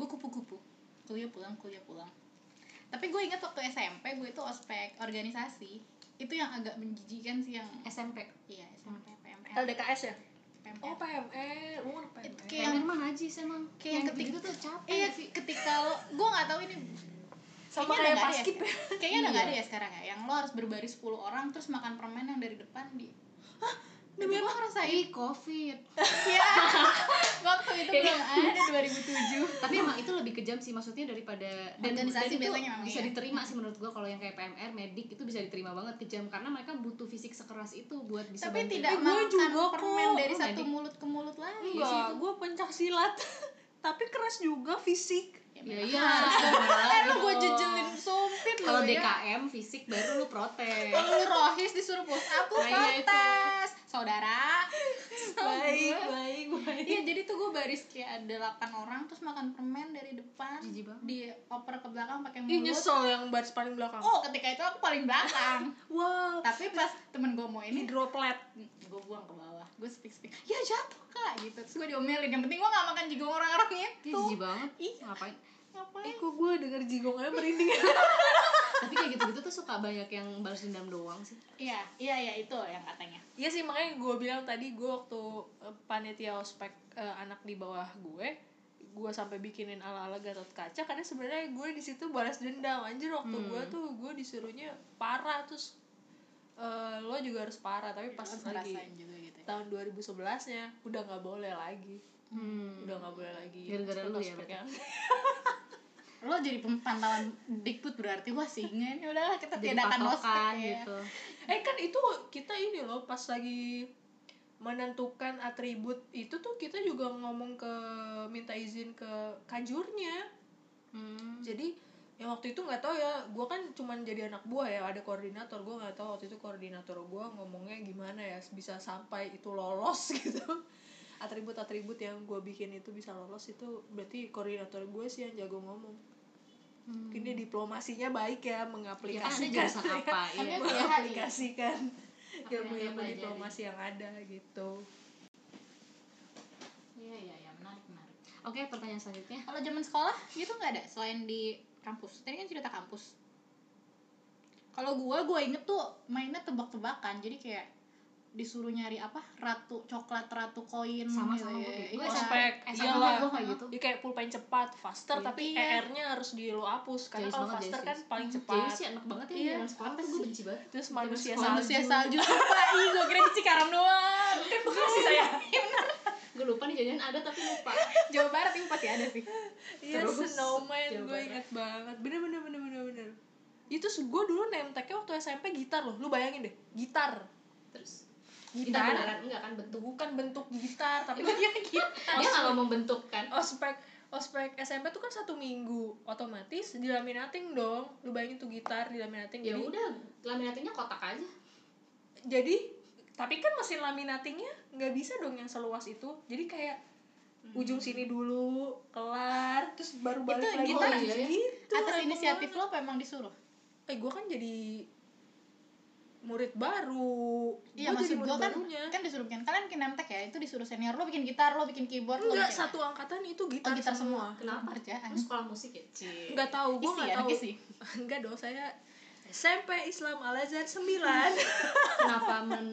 Speaker 2: gue kupu-kupu kuliah pulang kuliah pulang tapi gue inget waktu SMP gue itu ospek organisasi itu yang agak menjijikan sih yang
Speaker 3: SMP
Speaker 2: iya SMP PMR
Speaker 1: LDKS ya
Speaker 2: PMR
Speaker 1: oh PMR lu anak
Speaker 2: Itu
Speaker 1: PMR
Speaker 2: kayak
Speaker 3: kayak mah najis emang
Speaker 2: Iya. Kayak yang ketik-
Speaker 3: gitu tuh capek
Speaker 2: iya
Speaker 3: nggak sih
Speaker 2: ketika lo gue nggak tahu ini
Speaker 1: sama
Speaker 2: kayaknya udah nggak ada
Speaker 1: kayak paskip
Speaker 2: ya
Speaker 1: ya
Speaker 2: sekarang. kayaknya udah nggak ada
Speaker 3: Iya.
Speaker 2: ya sekarang ya yang lo harus berbaris 10 orang terus makan permen yang dari depan di
Speaker 1: demi
Speaker 2: gue ngerasain
Speaker 3: Ih, covid
Speaker 2: ya waktu itu belum ada 2007
Speaker 3: tapi emang itu lebih kejam sih maksudnya daripada dan,
Speaker 2: Organisasi
Speaker 3: dan itu
Speaker 2: biasanya memang
Speaker 3: bisa
Speaker 2: iya.
Speaker 3: diterima sih menurut gua kalau yang kayak PMR medik itu bisa diterima banget kejam karena mereka butuh fisik sekeras itu buat bisa
Speaker 2: tapi
Speaker 3: bantu.
Speaker 2: tidak
Speaker 1: gue
Speaker 2: makan
Speaker 1: juga kok.
Speaker 2: permen dari
Speaker 3: Oh,
Speaker 2: satu
Speaker 3: jadi-
Speaker 2: mulut ke mulut lagi
Speaker 1: enggak gue pencak silat tapi keras juga fisik
Speaker 3: ya
Speaker 2: ya,
Speaker 3: iya
Speaker 2: kan lu
Speaker 3: harus
Speaker 2: gue jejelin sumpit lu
Speaker 3: kalau
Speaker 2: ya.
Speaker 3: DKM fisik baru lu protes
Speaker 2: Kalau lu rohis disuruh push up lu
Speaker 3: Nah, iya itu.
Speaker 2: protes saudara
Speaker 1: baik
Speaker 2: Gua-
Speaker 1: baik baik
Speaker 2: Iya jadi tuh gue baris kayak ada 8 orang terus makan permen dari depan
Speaker 3: Jijik banget.
Speaker 2: dioper ke belakang pakai
Speaker 1: Ih
Speaker 2: mulut.
Speaker 1: nyesel yang baris paling belakang.
Speaker 2: Oh ketika itu aku paling belakang.
Speaker 1: Wow,
Speaker 2: Tapi pas temen gue mau ini
Speaker 1: ini droplet.
Speaker 2: gue buang ke bawah. Gue speak speak. Ya jatuh kak gitu. Terus gue diomelin. Yang penting gue gak makan juga orang-orang
Speaker 3: Ih,
Speaker 2: itu.
Speaker 3: jijik banget
Speaker 2: Iya.
Speaker 3: ngapain
Speaker 2: Ngapain?
Speaker 1: Eh kok gue denger jigongnya merinding.
Speaker 3: tapi kayak gitu-gitu tuh suka banyak yang balas dendam doang sih
Speaker 2: Iya iya iya itu yang katanya.
Speaker 1: Iya sih makanya gue bilang tadi gue waktu eh, panitia ospek eh, anak di bawah gue gue sampai bikinin ala-ala Gatot Kaca karena sebenarnya gue di situ balas dendam anjir waktu gue tuh gue disuruhnya parah terus eh, lo juga harus parah tapi pas
Speaker 2: Terus
Speaker 1: lagi
Speaker 2: ngerasain juga gitu.
Speaker 1: tahun 2011-nya udah nggak boleh lagi udah nggak boleh lagi
Speaker 3: Gara-gara lu ya,
Speaker 1: ospek-ospeknya.
Speaker 2: Lo jadi pemantauan dikbud berarti wah singa ini udahlah kita
Speaker 3: jadi
Speaker 2: tiadakan
Speaker 3: patokan
Speaker 2: ospek ya.
Speaker 3: gitu
Speaker 1: eh kan itu kita ini loh pas lagi menentukan atribut itu tuh kita juga ngomong ke minta izin ke kajurnya
Speaker 3: Hmm.
Speaker 1: jadi yang waktu itu nggak tahu ya gue kan cuman jadi anak buah ya ada koordinator gue nggak tahu waktu itu koordinator gue ngomongnya gimana ya bisa sampai itu lolos gitu atribut-atribut yang gue bikin itu bisa lolos itu berarti koordinator gue sih yang jago ngomong mungkin dia diplomasinya baik ya
Speaker 3: ya kan Hmm. dia
Speaker 1: mengaplikasikan
Speaker 3: jurusan apa
Speaker 2: Tapi aku
Speaker 3: iya.
Speaker 2: ya hari
Speaker 1: mengaplikasikan
Speaker 3: Apa yang dia
Speaker 1: ilmu-ilmu
Speaker 3: pelajari.
Speaker 1: diplomasi yang ada gitu
Speaker 2: Iya iya iya menarik menarik.
Speaker 3: oke pertanyaan selanjutnya
Speaker 2: Kalau zaman sekolah gitu nggak ada selain di kampus. Tadi kan cerita kampus. Kalau gua gua inget tuh mainnya tebak-tebakan. Jadi kayak disuruh nyari apa ratu coklat ratu koin
Speaker 3: Sama-sama gua
Speaker 2: gitu ya.
Speaker 3: kayak-
Speaker 2: Iya,
Speaker 3: gua
Speaker 2: sama.
Speaker 1: ospek
Speaker 3: eh, sama
Speaker 1: iyalah
Speaker 3: gua kayak gitu.
Speaker 1: Ya, kayak pulpen cepat faster
Speaker 3: Iya.
Speaker 1: tapi
Speaker 2: Iya.
Speaker 1: er-nya harus di lo hapus karena
Speaker 3: Jayus
Speaker 1: kalau
Speaker 3: banget,
Speaker 1: faster
Speaker 3: Jayus,
Speaker 1: kan
Speaker 3: Jayus.
Speaker 1: paling
Speaker 3: Jadi
Speaker 1: cepat
Speaker 3: sih anak banget ya
Speaker 2: Iya,
Speaker 3: zaman sekolah
Speaker 2: apa
Speaker 3: tuh gue
Speaker 2: sih?
Speaker 3: benci banget
Speaker 1: terus manusia
Speaker 3: sekolah
Speaker 1: salju
Speaker 2: manusia salju Iya, lupa ih gua kira di Cikaram doang
Speaker 1: kan bekasi saya
Speaker 3: Iya, gue lupa nih jadian ada tapi lupa
Speaker 2: Jawa Barat itu pasti ada sih
Speaker 1: iya
Speaker 3: Terus,
Speaker 1: snowman
Speaker 3: Jawa
Speaker 1: gue
Speaker 3: Barat.
Speaker 1: inget banget bener bener bener bener bener itu gue dulu name tag-nya waktu SMP gitar loh lu bayangin deh gitar
Speaker 3: terus kita
Speaker 1: gitar
Speaker 3: beneran enggak kan bentuk
Speaker 1: bukan bentuk gitar tapi iya, dia gitar
Speaker 3: dia nggak ngomong bentuk kan
Speaker 1: ospek ospek SMP tuh kan satu minggu otomatis dilaminating dong lu bayangin tuh gitar dilaminating
Speaker 3: ya
Speaker 1: jadi
Speaker 3: udah laminatingnya kotak aja
Speaker 1: jadi tapi kan mesin laminatingnya nggak bisa dong yang seluas itu jadi kayak ujung sini dulu kelar terus baru balik
Speaker 2: Hmm. Itu
Speaker 1: lagi
Speaker 2: gitar
Speaker 1: Oh,
Speaker 3: ya?
Speaker 1: gitu
Speaker 2: atas
Speaker 1: emang
Speaker 2: inisiatif lo apa emang disuruh
Speaker 1: eh gue kan jadi murid baru
Speaker 2: Iya
Speaker 1: Gua jadi
Speaker 2: maksud
Speaker 1: murid
Speaker 2: gua kan
Speaker 1: barunya
Speaker 2: kan disuruh bikin kalian bikin nemtek ya itu disuruh senior lo bikin gitar lo bikin keyboard lo
Speaker 1: enggak
Speaker 2: bikin-
Speaker 1: satu angkatan itu
Speaker 2: oh,
Speaker 1: gitar,
Speaker 2: gitar semua,
Speaker 3: Kenapa?
Speaker 2: kerjaan
Speaker 3: terus sekolah musik ya Cie.
Speaker 1: enggak tahu gue
Speaker 2: Isi,
Speaker 1: nggak
Speaker 2: anak
Speaker 1: tahu
Speaker 2: isi.
Speaker 1: enggak dong saya SMP Islam Al Azhar 9
Speaker 3: kenapa men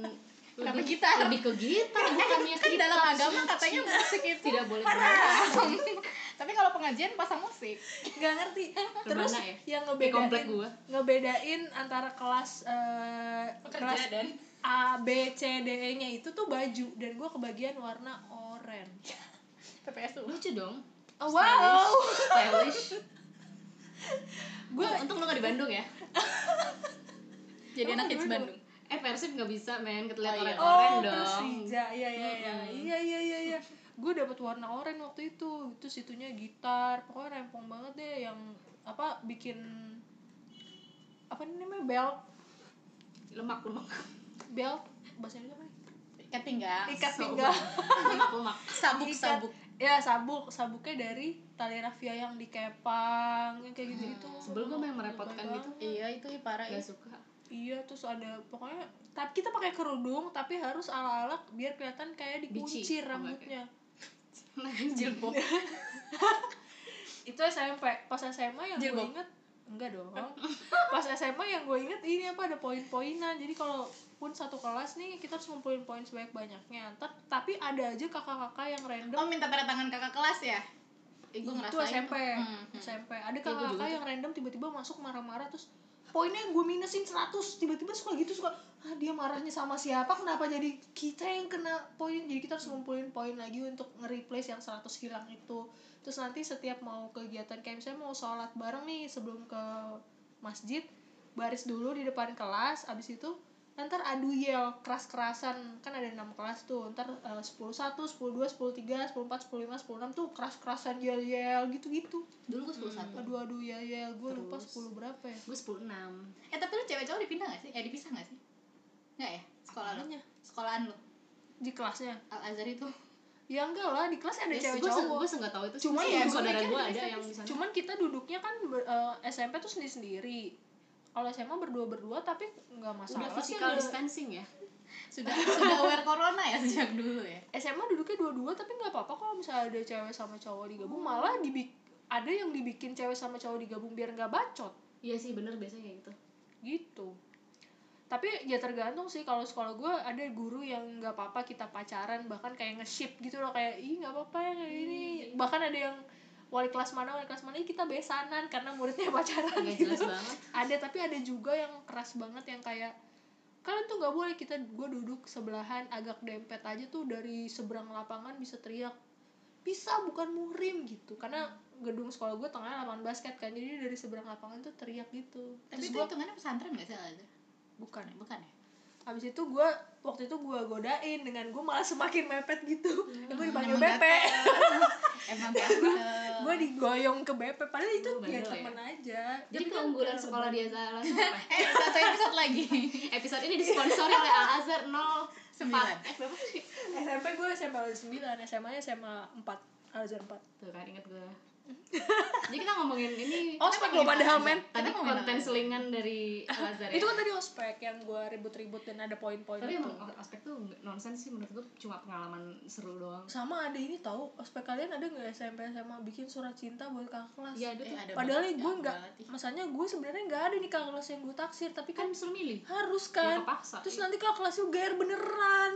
Speaker 2: Kenapa
Speaker 3: lebih-
Speaker 2: gitar?
Speaker 3: lebih ke gitu,
Speaker 1: Eh,
Speaker 3: gitar
Speaker 2: kan
Speaker 3: bukannya kitab
Speaker 2: dalam agama
Speaker 3: suci.
Speaker 2: katanya musik itu
Speaker 3: Iya. tidak boleh
Speaker 2: tapi kalau pengajian pasang musik
Speaker 1: nggak ngerti terus
Speaker 3: Kemana ya?
Speaker 1: yang
Speaker 3: di komplek
Speaker 1: ngebedain
Speaker 3: gue
Speaker 1: ngebedain antara kelas eh, kelas
Speaker 2: dan
Speaker 1: A B C D E nya itu tuh baju dan gue kebagian warna orange
Speaker 2: PPS dulu
Speaker 3: lucu dong
Speaker 1: Oh, wow
Speaker 3: stylish
Speaker 1: gue
Speaker 3: gue untung lo gak di Bandung ya
Speaker 2: jadi anak
Speaker 1: Emang
Speaker 2: hits
Speaker 1: dulu-
Speaker 2: Bandung
Speaker 3: eh persib gak bisa main
Speaker 2: Oh,
Speaker 3: ketelan
Speaker 2: iya.
Speaker 3: orang
Speaker 1: oh
Speaker 3: orang dong
Speaker 1: Persija iya iya iya
Speaker 3: Mm-mm.
Speaker 1: iya iya iya iya gue dapat warna orange waktu itu itu situnya gitar pokoknya rempong banget deh yang apa bikin apa namanya belt
Speaker 3: lemak lemak
Speaker 1: belt bahasa Indonesia apa
Speaker 2: ikat pinggang
Speaker 1: ya? ikat
Speaker 3: so-
Speaker 1: pinggang
Speaker 3: lemak lemak
Speaker 2: sabuk
Speaker 1: Ikat.
Speaker 2: sabuk
Speaker 1: ya sabuk sabuknya dari tali rafia yang dikepang yang kayak gitu gitu
Speaker 2: Hmm,
Speaker 3: sebel gue main merepotkan gitu
Speaker 2: iya itu ih, parah
Speaker 3: gak
Speaker 2: ya
Speaker 3: suka
Speaker 1: Iya, terus ada pokoknya tapi kita pakai kerudung tapi harus ala-ala biar kelihatan kayak
Speaker 3: Bici.
Speaker 1: dikuncir
Speaker 3: Oh,
Speaker 1: rambutnya.
Speaker 3: Nah,
Speaker 2: jilbab
Speaker 1: Iya. Itu SMP. Pas SMA yang gue
Speaker 2: Jilbab.
Speaker 1: inget enggak dong. Pas SMA yang gue inget ini apa ada poin-poinan. Jadi kalau pun satu kelas nih kita harus ngumpulin poin sebanyak-banyaknya. Ter- tapi ada aja kakak-kakak yang random.
Speaker 2: oh minta tanda tangan kakak kelas ya Eh, gua
Speaker 1: itu
Speaker 2: ngerasain
Speaker 1: SMP.
Speaker 2: tuh. Hmm, hmm.
Speaker 1: SMP. Ada
Speaker 3: Iya, gua juga
Speaker 1: kakak-kakak yang random tiba-tiba masuk marah-marah terus poinnya gue minusin 100 tiba-tiba suka gitu suka ah dia marahnya sama siapa kenapa jadi kita yang kena poin jadi kita harus ngumpulin poin lagi untuk nge-replace yang 100 hilang itu terus nanti setiap mau kegiatan kayak misalnya mau sholat bareng nih sebelum ke masjid baris dulu di depan kelas abis itu ntar adu yel keras-kerasan kan ada enam kelas tuh ntar eh, sepuluh satu sepuluh dua sepuluh tiga sepuluh empat sepuluh lima sepuluh enam tuh keras-kerasan yel yel gitu-gitu
Speaker 3: dulu gue sepuluh satu
Speaker 1: adu adu yel yel gue ya, lupa
Speaker 3: Terus?
Speaker 1: sepuluh berapa ya
Speaker 3: gue sepuluh enam
Speaker 2: eh tapi lu cewek cowok dipindah gak sih eh dipisah gak sih nggak ya sekolah lu
Speaker 1: Apanya?
Speaker 2: sekolahan lu
Speaker 1: di kelasnya
Speaker 3: Al Azhar itu
Speaker 1: ya enggak lah di kelas ada cewek
Speaker 3: gue
Speaker 1: cowok
Speaker 3: gue nggak tahu itu sih
Speaker 1: Cuma
Speaker 3: Cuma
Speaker 1: ya,
Speaker 3: ya
Speaker 1: gue
Speaker 3: saudara
Speaker 1: mikir di
Speaker 3: gue ada
Speaker 1: SMP
Speaker 3: yang di sana
Speaker 1: cuman kita duduknya kan ber- eh, SMP tuh sendiri sendiri kalau SMA berdua berdua tapi nggak masalah
Speaker 3: udah
Speaker 1: sih
Speaker 3: physical
Speaker 1: ada-
Speaker 3: distancing ya
Speaker 2: sudah sudah aware corona ya sejak dulu ya
Speaker 1: SMA duduknya dua-dua tapi nggak apa-apa kalau misalnya ada cewek sama cowok digabung malah dibik ada yang dibikin cewek sama cowok digabung biar nggak bacot
Speaker 3: iya sih bener biasanya kayak gitu
Speaker 1: gitu tapi ya tergantung sih kalau sekolah gue ada guru yang nggak apa-apa kita pacaran bahkan kayak nge-ship gitu loh kayak ih nggak apa-apa ya kayak ini bahkan ada yang wali kelas mana wali kelas mana "Ih, kita besanan karena muridnya pacaran
Speaker 3: nggak
Speaker 1: gitu
Speaker 3: Iya, jelas banget
Speaker 1: ada tapi ada juga yang keras banget yang kayak kalian tuh nggak boleh kita gue duduk sebelahan agak dempet aja tuh dari seberang lapangan bisa teriak bisa bukan muhrim gitu karena gedung sekolah gue tengah lapangan basket kan jadi dari seberang lapangan tuh teriak gitu
Speaker 2: tapi kan
Speaker 1: terus
Speaker 2: itu
Speaker 1: gue
Speaker 2: hitungannya pesantren nggak sih Lazar
Speaker 1: bukan
Speaker 2: bukan ya
Speaker 1: habis itu gue waktu itu gue godain dengan gue malah semakin mepet gitu
Speaker 3: Hmm.
Speaker 1: gue dipanggil
Speaker 2: Emang
Speaker 1: BP
Speaker 2: gatel. emang gatel.
Speaker 1: gue digoyong ke BP padahal itu
Speaker 3: Lu
Speaker 1: ya
Speaker 3: bandel ya?
Speaker 1: temen aja
Speaker 3: jadi
Speaker 1: Tapi kan
Speaker 3: keunggulan
Speaker 1: karena
Speaker 3: sekolah di
Speaker 1: beban.
Speaker 3: Azhar Al Azhar apa? ya?
Speaker 2: eh satu episode lagi
Speaker 3: episode ini disponsori oleh Al Azhar 0
Speaker 2: Sembilan.
Speaker 3: Eh, berapa sih?
Speaker 1: SMP gue SMA 9 SMA nya SMA 4 Al 4
Speaker 3: Tuh kan inget gue Jadi kita ngomongin ini
Speaker 1: Oh,
Speaker 3: kita
Speaker 1: spek lo
Speaker 3: ngomongin
Speaker 1: padahal,
Speaker 3: Al-Azhar.
Speaker 1: men.
Speaker 3: Tadi
Speaker 2: Kita ngomongin
Speaker 3: konten
Speaker 2: Al-Azhar.
Speaker 3: selingan dari Al Azhar ya
Speaker 1: itu kan tadi ospek yang gue ribut-ribut dan ada poin-poin itu.
Speaker 3: Tapi emang aspek tuh nggak- nonsens sih menurut gue cuma pengalaman seru doang
Speaker 1: sama ada ini tahu ospek kalian ada nggak SMP SMA bikin surat cinta buat kakak kelas
Speaker 3: Iya ada
Speaker 2: Eh,
Speaker 3: tuh
Speaker 2: ada
Speaker 1: padahal
Speaker 2: banget,
Speaker 1: gue
Speaker 2: ada
Speaker 1: nggak
Speaker 2: banget ih.
Speaker 1: masanya gue sebenarnya nggak ada nih kakak kelas yang gue taksir tapi kan
Speaker 3: Kan suruh milih
Speaker 1: harus
Speaker 3: Ya
Speaker 1: kan
Speaker 3: kepaksa
Speaker 1: terus
Speaker 3: iya.
Speaker 1: nanti kakak kelas lu gair beneran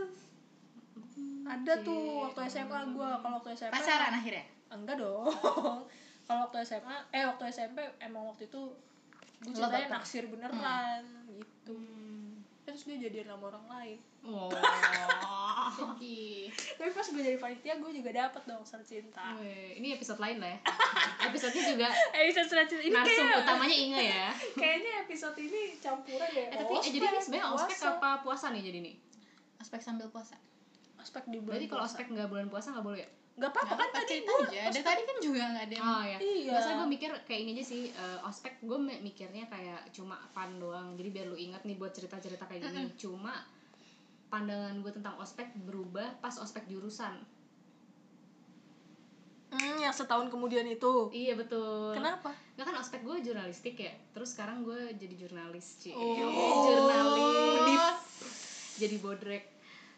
Speaker 3: Hmm,
Speaker 1: ada
Speaker 3: oke.
Speaker 1: tuh waktu SMA gue kalau waktu SMA
Speaker 2: pacaran akhirnya
Speaker 1: enggak dong kalau waktu SMA eh waktu SMP emang waktu itu gue
Speaker 2: Lo
Speaker 1: cintanya
Speaker 2: baper.
Speaker 1: naksir beneran gitu
Speaker 3: Hmm.
Speaker 1: terus gue jadian sama orang lain
Speaker 3: Wow.
Speaker 2: sedih
Speaker 1: tapi pas gue jadi panitia gue juga dapet dong surat cinta
Speaker 3: Weh, ini episode lain lah ya. Episodenya juga
Speaker 1: episode Eh, surat cinta ini
Speaker 3: narsum
Speaker 1: kayak
Speaker 3: utamanya Inge ya.
Speaker 1: kayaknya episode ini campuran ya
Speaker 3: Eh, tapi eh, jadi ini sebenarnya ospek apa puasa nih jadi nih?
Speaker 2: aspek sambil puasa
Speaker 1: ospek di bulan
Speaker 3: Berarti kalau ospek nggak bulan puasa nggak boleh ya?
Speaker 1: nggak apa-apa kan
Speaker 2: Nggak apa-apa,
Speaker 1: tadi
Speaker 2: cerita
Speaker 1: gue
Speaker 2: aja dari tadi kan juga nggak ada yang
Speaker 3: Oh ya.
Speaker 1: Iya.
Speaker 3: Biasanya gue mikir kayak ini aja sih eh, ospek gue mi- mikirnya kayak cuma fun doang. Jadi biar lu ingat nih buat cerita-cerita kayak gini. Cuma pandangan gue tentang ospek berubah pas ospek jurusan.
Speaker 1: hmm, yang setahun kemudian itu
Speaker 3: Iya betul.
Speaker 1: kenapa
Speaker 3: Nggak kan ospek gue jurnalistik ya. Terus sekarang gue jadi jurnalis sih.
Speaker 1: Oh.
Speaker 3: Jurnalis.
Speaker 1: Medip.
Speaker 3: Jadi bodrek.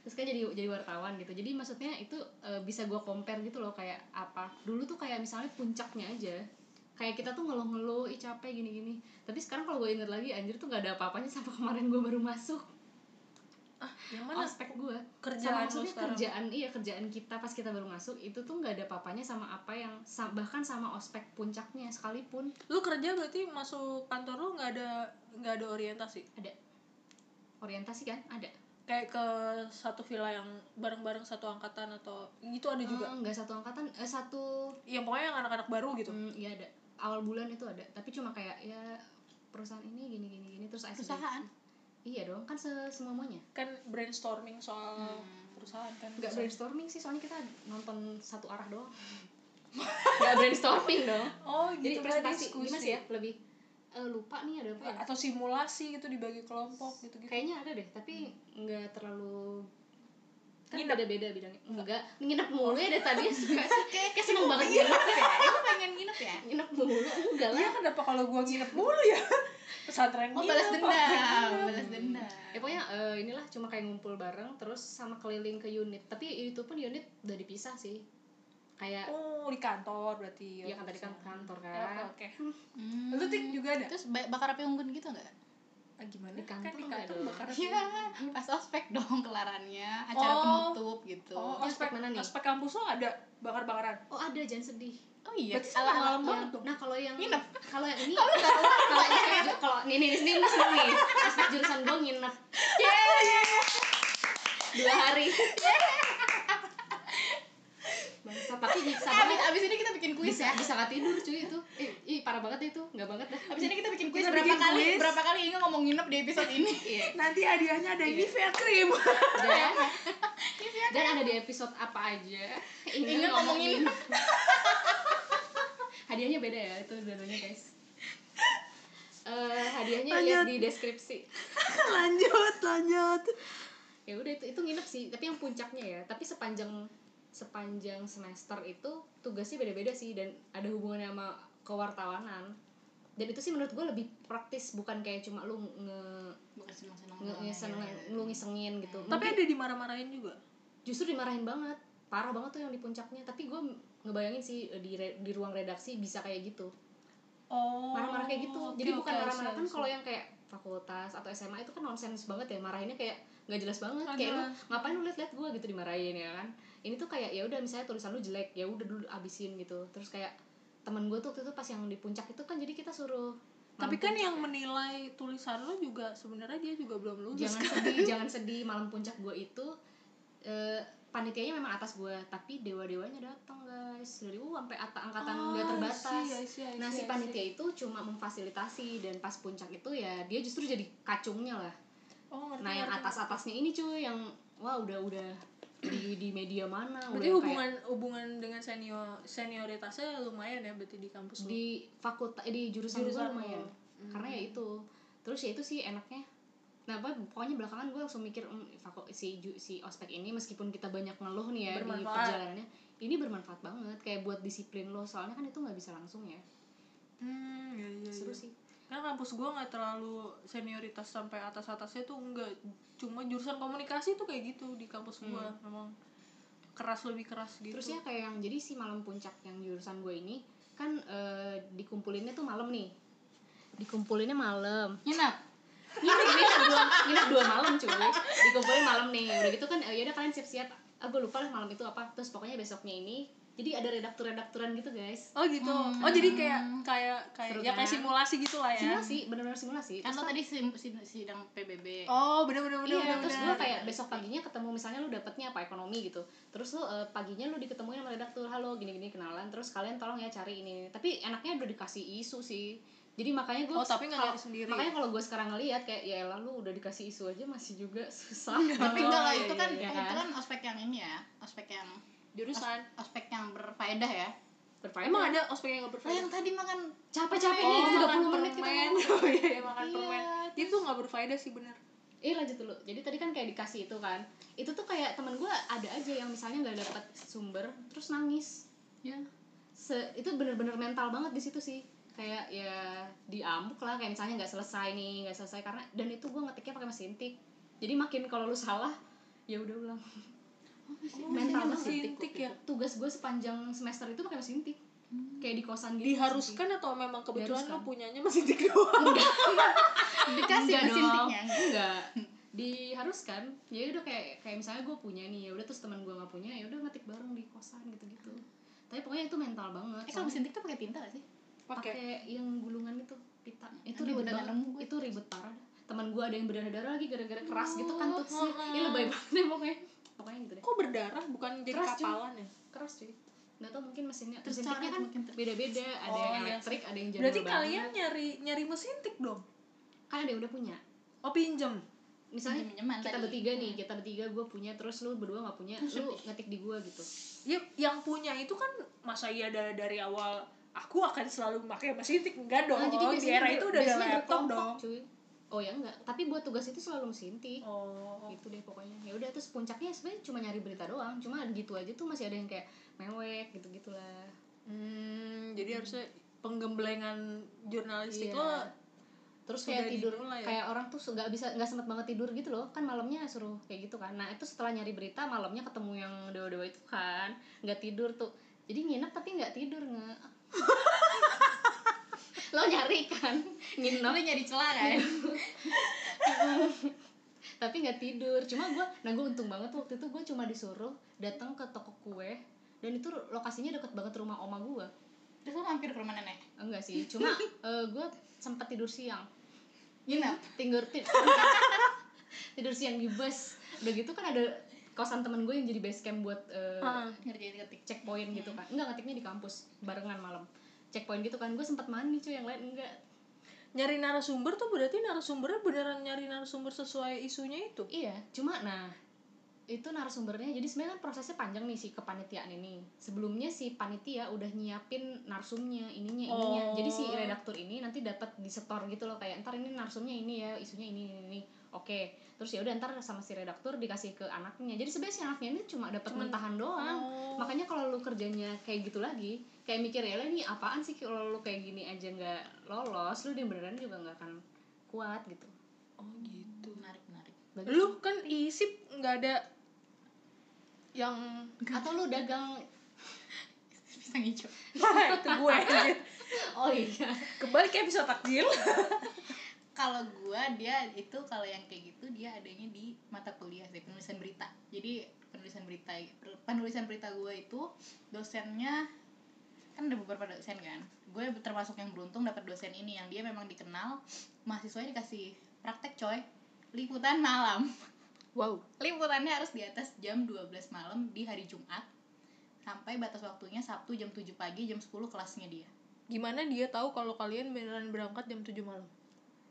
Speaker 3: Terus kan jadi jadi wartawan gitu. Jadi maksudnya itu eh, bisa gue compare gitu loh kayak apa. Dulu tuh kayak misalnya puncaknya aja. Kayak kita tuh ngeluh-ngeluh, ih capek gini-gini. Tapi sekarang kalau gue inget lagi, anjir tuh gak ada apa-apanya sama kemarin gue baru masuk
Speaker 1: ah yang mana
Speaker 3: ospek gue.
Speaker 1: kerjaan lu
Speaker 3: sama maksudnya
Speaker 1: sekarang
Speaker 3: kerjaan iya kerjaan kita pas kita baru masuk itu tuh nggak ada papanya sama apa yang sa- bahkan sama ospek puncaknya sekalipun
Speaker 1: lu kerja berarti masuk kantor lu nggak ada nggak ada orientasi
Speaker 3: ada orientasi kan ada
Speaker 1: kayak ke satu villa yang bareng-bareng satu angkatan atau gitu ada juga
Speaker 3: Eh, nggak satu angkatan eh, satu
Speaker 1: yang pokoknya yang anak-anak baru gitu
Speaker 3: Hmm, iya ada awal bulan itu ada tapi cuma kayak ya perusahaan ini gini gini gini terus ice
Speaker 2: perusahaan
Speaker 3: breaking. iya dong kan semuanya
Speaker 1: kan brainstorming soal perusahaan kan
Speaker 3: Hmm. nggak
Speaker 1: Soal-
Speaker 3: brainstorming sih soalnya kita nonton satu arah doang nggak brainstorming dong
Speaker 1: oh gitu
Speaker 3: jadi
Speaker 1: berarti
Speaker 3: presentasi
Speaker 1: diskusi. Iya.
Speaker 3: gimana sih ya lebih eh, lupa nih ada apa ya?
Speaker 1: atau simulasi gitu dibagi kelompok gitu gitu
Speaker 3: kayaknya ada deh tapi nggak terlalu kan
Speaker 1: Nginep.
Speaker 3: beda-beda bidangnya enggak nginep mulu ya dari tadi Enggak sih. kayak kayak seneng banget
Speaker 2: Iya,
Speaker 3: nginep
Speaker 2: ya, aku pengen nginep ya
Speaker 3: nginep mulu enggak lah
Speaker 1: Iya kenapa kalau gua nginep mulu ya pesantren
Speaker 2: mau
Speaker 1: gua
Speaker 3: Oh,
Speaker 2: Oh, balas dendam balas dendam
Speaker 3: ya pokoknya eh, inilah cuma kayak ngumpul bareng terus sama keliling ke unit tapi itu pun unit udah dipisah sih kayak
Speaker 1: oh di kantor berarti
Speaker 3: ya kan tadi kan kantor kan
Speaker 1: Oh, iya, Ya, oke oke
Speaker 2: Hmm.
Speaker 1: lu tik juga ada
Speaker 2: terus ba- bakar api unggun gitu nggak
Speaker 1: ah, gimana
Speaker 3: Di kantor
Speaker 1: kan di
Speaker 3: nggak
Speaker 1: kantor
Speaker 3: ada.
Speaker 1: bakar
Speaker 2: Iya, pas ospek dong kelarannya, acara
Speaker 1: Oh.
Speaker 2: penutup gitu.
Speaker 1: oh
Speaker 3: Ini
Speaker 1: aspek
Speaker 3: aspek mana nih?
Speaker 1: aspek kampus lo ada bakar bakaran
Speaker 3: oh ada jangan sedih
Speaker 2: Oh iya,
Speaker 1: Berarti sampai
Speaker 2: ala-ala
Speaker 1: malam
Speaker 2: yang-
Speaker 1: banget dong.
Speaker 3: nah kalau yang
Speaker 2: Nginep.
Speaker 3: kalau yang ini kalau kalau ini kayak- kalau nih nih nih nih seneng nih aspek jurusan gue nginep
Speaker 2: Oh, iya,
Speaker 1: Iya,
Speaker 3: dua hari bangsa tapi bisa
Speaker 2: Abis,
Speaker 3: banget
Speaker 2: abis ini kita bikin kuis
Speaker 3: bisa
Speaker 2: ya.
Speaker 3: bisa nggak tidur cuy itu ih, ih parah banget itu nggak banget dah
Speaker 2: Abis ini kita bikin kuis
Speaker 1: Kita
Speaker 2: berapa
Speaker 1: bikin
Speaker 2: kali?
Speaker 1: kuis.
Speaker 2: Berapa kali Inge ngomong nginep di episode ini?
Speaker 3: iya
Speaker 1: nanti hadiahnya ada ini fair cream
Speaker 3: dan ya? dan ada di episode apa aja
Speaker 2: Ingat ngomongin.
Speaker 3: hadiahnya beda ya itu dua-duanya guys Eh hadiahnya
Speaker 1: Lanjut.
Speaker 3: lihat di deskripsi
Speaker 1: lanjut lanjut
Speaker 3: ya udah itu itu nginep sih tapi yang puncaknya ya tapi sepanjang sepanjang semester itu tugasnya beda-beda sih dan ada hubungannya sama kewartawanan dan itu sih menurut gue lebih praktis bukan kayak cuma lu nge
Speaker 2: bukan seneng seneng
Speaker 3: nge, nge,
Speaker 2: iya,
Speaker 3: lu ngisengin gitu
Speaker 1: Tapi
Speaker 3: Mungkin
Speaker 1: ada dimarah-marahin juga.
Speaker 3: justru dimarahin banget parah banget tuh yang di puncaknya tapi gue ngebayangin sih eh, di re- di ruang redaksi bisa kayak gitu
Speaker 1: Oh.
Speaker 3: marah-marah kayak gitu jadi
Speaker 1: oke,
Speaker 3: bukan
Speaker 1: oke,
Speaker 3: marah-marah kan
Speaker 1: oke.
Speaker 3: kalau yang kayak fakultas atau SMA itu kan nonsens banget ya marahinnya kayak nggak jelas banget
Speaker 1: Nggak
Speaker 3: kayak lu
Speaker 1: jelas.
Speaker 3: ngapain lu liat-liat gue gitu dimarahin ya kan ini tuh kayak ya udah misalnya tulisan lu jelek ya udah dulu abisin gitu terus kayak temen gue tuh waktu itu pas yang di puncak itu kan jadi kita suruh
Speaker 1: Tapi kan
Speaker 3: malam puncak
Speaker 1: yang
Speaker 3: ya.
Speaker 1: menilai tulisan lo juga sebenarnya dia juga belum lulus.
Speaker 3: jangan
Speaker 1: kan?
Speaker 3: sedih jangan sedih malam puncak gue itu eh, panitianya memang atas gue tapi dewa dewanya datang guys dari uh sampai ata- angkatan nggak
Speaker 1: Ah,
Speaker 3: terbatas
Speaker 1: I see, I see, I
Speaker 3: Nah
Speaker 1: see, I
Speaker 3: si
Speaker 1: see.
Speaker 3: panitia itu cuma memfasilitasi dan pas puncak itu ya dia justru jadi kacungnya lah.
Speaker 1: Oh, ngerti,
Speaker 3: Nah yang
Speaker 1: ngerti,
Speaker 3: atas atasnya ini cuy yang wah udah udah di di media mana
Speaker 1: berarti
Speaker 3: udah
Speaker 1: hubungan hubungan dengan senior senioritasnya lumayan ya berarti di kampus
Speaker 3: kayak
Speaker 1: lu.
Speaker 3: di fakultas di jurusan,
Speaker 1: Jurusan
Speaker 3: gua lumayan.
Speaker 1: lu.
Speaker 3: Karena ya itu terus ya itu sih enaknya. Nah gua- pokoknya belakangan gue langsung mikir "Hmm, faku- si ju- si ospek ini meskipun kita banyak ngeluh nih ya di
Speaker 1: Bermanfaat.
Speaker 3: perjalanannya ini bermanfaat banget kayak buat disiplin lo soalnya kan itu nggak bisa langsung ya
Speaker 1: hmm iya, iya,
Speaker 3: seru
Speaker 1: iya.
Speaker 3: sih
Speaker 1: karena kampus gue nggak terlalu senioritas sampai atas atasnya tuh enggak cuma jurusan komunikasi tuh kayak gitu di kampus gue memang keras lebih keras gitu
Speaker 3: Hmm. Terus ya kayak yang jadi si malam puncak yang jurusan gue ini kan eh, dikumpulinnya tuh malam nih. Dikumpulinnya malam.
Speaker 2: nginep
Speaker 3: Nginep nginep dua, nginep dua malam cuy. Dikumpulin malam nih. Udah gitu kan eh, yaudah kalian siap-siap. Ah gue lupa lah malam itu apa. Terus pokoknya besoknya ini jadi ada redaktur-redakturan gitu guys.
Speaker 1: oh gitu oh jadi kayak kayak kayak
Speaker 3: Hmm. Seru
Speaker 1: ya kayak
Speaker 3: kan?
Speaker 1: simulasi gitulah ya
Speaker 3: Simulasi, bener-bener simulasi.
Speaker 2: kan
Speaker 3: Terus
Speaker 2: lo
Speaker 3: kan-
Speaker 2: tadi sim- sim- sidang PBB
Speaker 1: oh bener bener bener
Speaker 3: Iya,
Speaker 1: bener,
Speaker 3: terus gue
Speaker 1: bener.
Speaker 3: kayak besok paginya ketemu misalnya lu dapetnya apa ekonomi gitu. Terus lu eh, paginya lu diketemuin sama redaktur, halo gini-gini kenalan. Terus kalian tolong ya cari ini. Tapi enaknya udah dikasih isu sih. Jadi makanya gue
Speaker 1: Oh, tapi nggak nyari sendiri.
Speaker 3: Makanya kalau gue sekarang ngelihat kayak ya elah lu udah dikasih isu aja masih juga susah.
Speaker 2: tapi enggak lah
Speaker 1: iya,
Speaker 2: itu kan
Speaker 3: iya, iya,
Speaker 2: itu
Speaker 3: kan?
Speaker 2: kan ospek yang ini ya ospek yang
Speaker 1: jurusan
Speaker 2: ospek yang berfaedah ya
Speaker 3: Berfaedah.
Speaker 1: emang ada ospek yang nggak
Speaker 2: lah yang
Speaker 1: berfaedah
Speaker 2: tadi makan
Speaker 3: capek-capeknya
Speaker 1: Oh,
Speaker 3: itu 30
Speaker 1: makan
Speaker 3: menit kita
Speaker 1: permen.
Speaker 3: ngomong.
Speaker 1: Oh, iya, makan
Speaker 3: Iya,
Speaker 1: permen. Itu nggak berfaedah sih bener.
Speaker 3: Eh lanjut dulu. Jadi tadi kan kayak dikasih itu kan. Itu tuh kayak temen gue ada aja yang misalnya nggak dapet sumber terus nangis.
Speaker 2: ya
Speaker 3: se- itu bener-bener mental banget di situ sih kayak ya diamuk lah kayak misalnya nggak selesai nih nggak selesai karena dan itu gue ngetiknya pakai mesin tik jadi makin kalau lu salah ya udah ulang
Speaker 1: Mental
Speaker 3: Mental banget.
Speaker 1: mesin tik ya.
Speaker 3: tugas gue sepanjang semester itu pakai mesin tik kayak di kosan gitu
Speaker 1: Diharuskan atau memang kebetulan lo
Speaker 3: Diharuskan.
Speaker 1: punyanya mesin tik doang?
Speaker 2: dikasih
Speaker 3: Enggak
Speaker 2: mesin
Speaker 3: dong.
Speaker 2: tiknya
Speaker 3: enggak diharuskan ya udah kayak kayak misalnya gue punya nih ya udah terus teman gue nggak punya ya udah ngetik bareng di kosan gitu gitu tapi pokoknya itu mental
Speaker 2: eh
Speaker 3: banget
Speaker 2: kalau
Speaker 3: soalnya-
Speaker 2: mesin tik tuh pakai tinta gak sih
Speaker 1: Pakai.
Speaker 3: pakai yang gulungan itu pita itu
Speaker 2: Aduh,
Speaker 3: ribet
Speaker 2: udah nggak
Speaker 3: banget
Speaker 2: nemu gue.
Speaker 3: itu ribet parah dah. teman gue ada yang berdarah-darah lagi gara-gara keras gitu kan
Speaker 1: Oh, oh,
Speaker 3: tutsnya ya
Speaker 2: ah.
Speaker 3: lebay banget deh pokoknya pokoknya gitu deh
Speaker 1: Kok berdarah bukan jadi
Speaker 3: Keras, cuy.
Speaker 1: kapalan ya?
Speaker 3: keras cuy nggak tau mungkin mesinnya
Speaker 2: Terus
Speaker 3: mesin tiknya
Speaker 2: coret
Speaker 3: kan
Speaker 2: mungkin tuh.
Speaker 3: beda-beda ada
Speaker 1: Oh,
Speaker 3: yang
Speaker 1: iya.
Speaker 3: elektrik ada yang jadul
Speaker 1: Berarti
Speaker 3: banget.
Speaker 1: kalian nyari nyari mesin tik dong.
Speaker 3: kan ada yang udah punya
Speaker 1: Oh pinjem.
Speaker 3: misalnya
Speaker 2: Pinjem-pinjeman
Speaker 3: Hmm.
Speaker 2: Hmm.
Speaker 3: kita
Speaker 2: tadi. Hmm.
Speaker 3: bertiga nih kita bertiga gue punya terus lu berdua nggak punya lu ngetik di gue gitu
Speaker 1: Ya, yang punya itu kan masa iya dari, dari awal aku akan selalu pakai mesin tik enggak dong.
Speaker 3: Nah,
Speaker 1: di
Speaker 3: biasanya
Speaker 1: era
Speaker 3: ber-
Speaker 1: itu udah ada
Speaker 3: biasanya
Speaker 1: laptop
Speaker 3: berkelompok,
Speaker 1: dong.
Speaker 3: cuy oh ya enggak tapi buat tugas itu selalu mesin tik
Speaker 1: Oh.
Speaker 3: gitu deh pokoknya ya udah terus puncaknya sebenarnya cuma nyari berita doang cuma gitu aja tuh masih ada yang kayak mewek gitu gitulah
Speaker 1: Hmm, jadi harusnya penggemblengan jurnalistik
Speaker 3: Iya.
Speaker 1: lo
Speaker 3: terus
Speaker 1: Sudah
Speaker 3: kayak tidur
Speaker 1: dimulai ya?
Speaker 3: kayak orang tuh su- nggak bisa nggak sempet banget tidur gitu loh kan malamnya suruh kayak gitu kan nah itu setelah nyari berita malamnya ketemu yang dewa dewa itu kan nggak tidur tuh jadi nginep tapi nggak tidur nge lo nyari kan nginep
Speaker 2: lo nyari celah kan
Speaker 3: tapi nggak tidur cuma gue nah gue untung banget waktu itu gue cuma disuruh datang ke toko kue dan itu lokasinya deket banget rumah oma gue
Speaker 2: terus lo mampir ke rumah nenek
Speaker 3: enggak sih cuma gue sempat tidur siang
Speaker 2: nginep
Speaker 3: tidur tidur tidur siang di bus udah gitu kan ada kosan temen gue yang jadi base camp buat eh,
Speaker 1: Heeh.
Speaker 2: ngerjain ketik
Speaker 3: checkpoint gitu kan enggak ngetiknya di kampus barengan malam checkpoint gitu kan gue sempat mandi cuy yang lain enggak
Speaker 1: nyari narasumber tuh berarti narasumbernya beneran nyari narasumber sesuai isunya itu
Speaker 3: Iya, cuma nah itu narasumbernya jadi sebenarnya kan prosesnya panjang nih si kepanitiaan ini. Sebelumnya si panitia udah nyiapin narsumnya, ininya, ininya.
Speaker 1: Oh.
Speaker 3: Jadi si redaktur ini nanti dapat disetor gitu loh kayak ntar ini narsumnya ini ya, isunya ini ini. ini. oke terus ya udah ntar sama si redaktur dikasih ke anaknya jadi sebenarnya si anaknya ini cuma dapat
Speaker 1: Cuman-
Speaker 3: mentahan doang makanya kalau lu kerjanya kayak gitu lagi kayak mikir ya lah ini apaan sih kalau lu kayak gini aja nggak lolos lu di beneran juga nggak akan kuat gitu
Speaker 1: oh gitu
Speaker 2: menarik menarik
Speaker 3: Bagus.
Speaker 1: lu kan isip nggak ada yang
Speaker 3: atau lu dagang
Speaker 2: bisa ngicu
Speaker 1: Wah, itu gue anjir.
Speaker 3: oh iya
Speaker 1: kembali ke episode takjil
Speaker 2: kalau gua dia itu kalau yang kayak gitu dia adanya di mata kuliah sih penulisan berita jadi penulisan berita penulisan berita gua itu dosennya kan ada beberapa dosen kan gue termasuk yang beruntung dapat dosen ini yang dia memang dikenal mahasiswanya dikasih praktek coy liputan malam
Speaker 1: wow
Speaker 2: liputannya harus di atas jam 12 malam di hari Jumat sampai batas waktunya Sabtu jam 7 pagi jam 10 kelasnya dia
Speaker 1: gimana dia tahu kalau kalian beneran berangkat jam 7 malam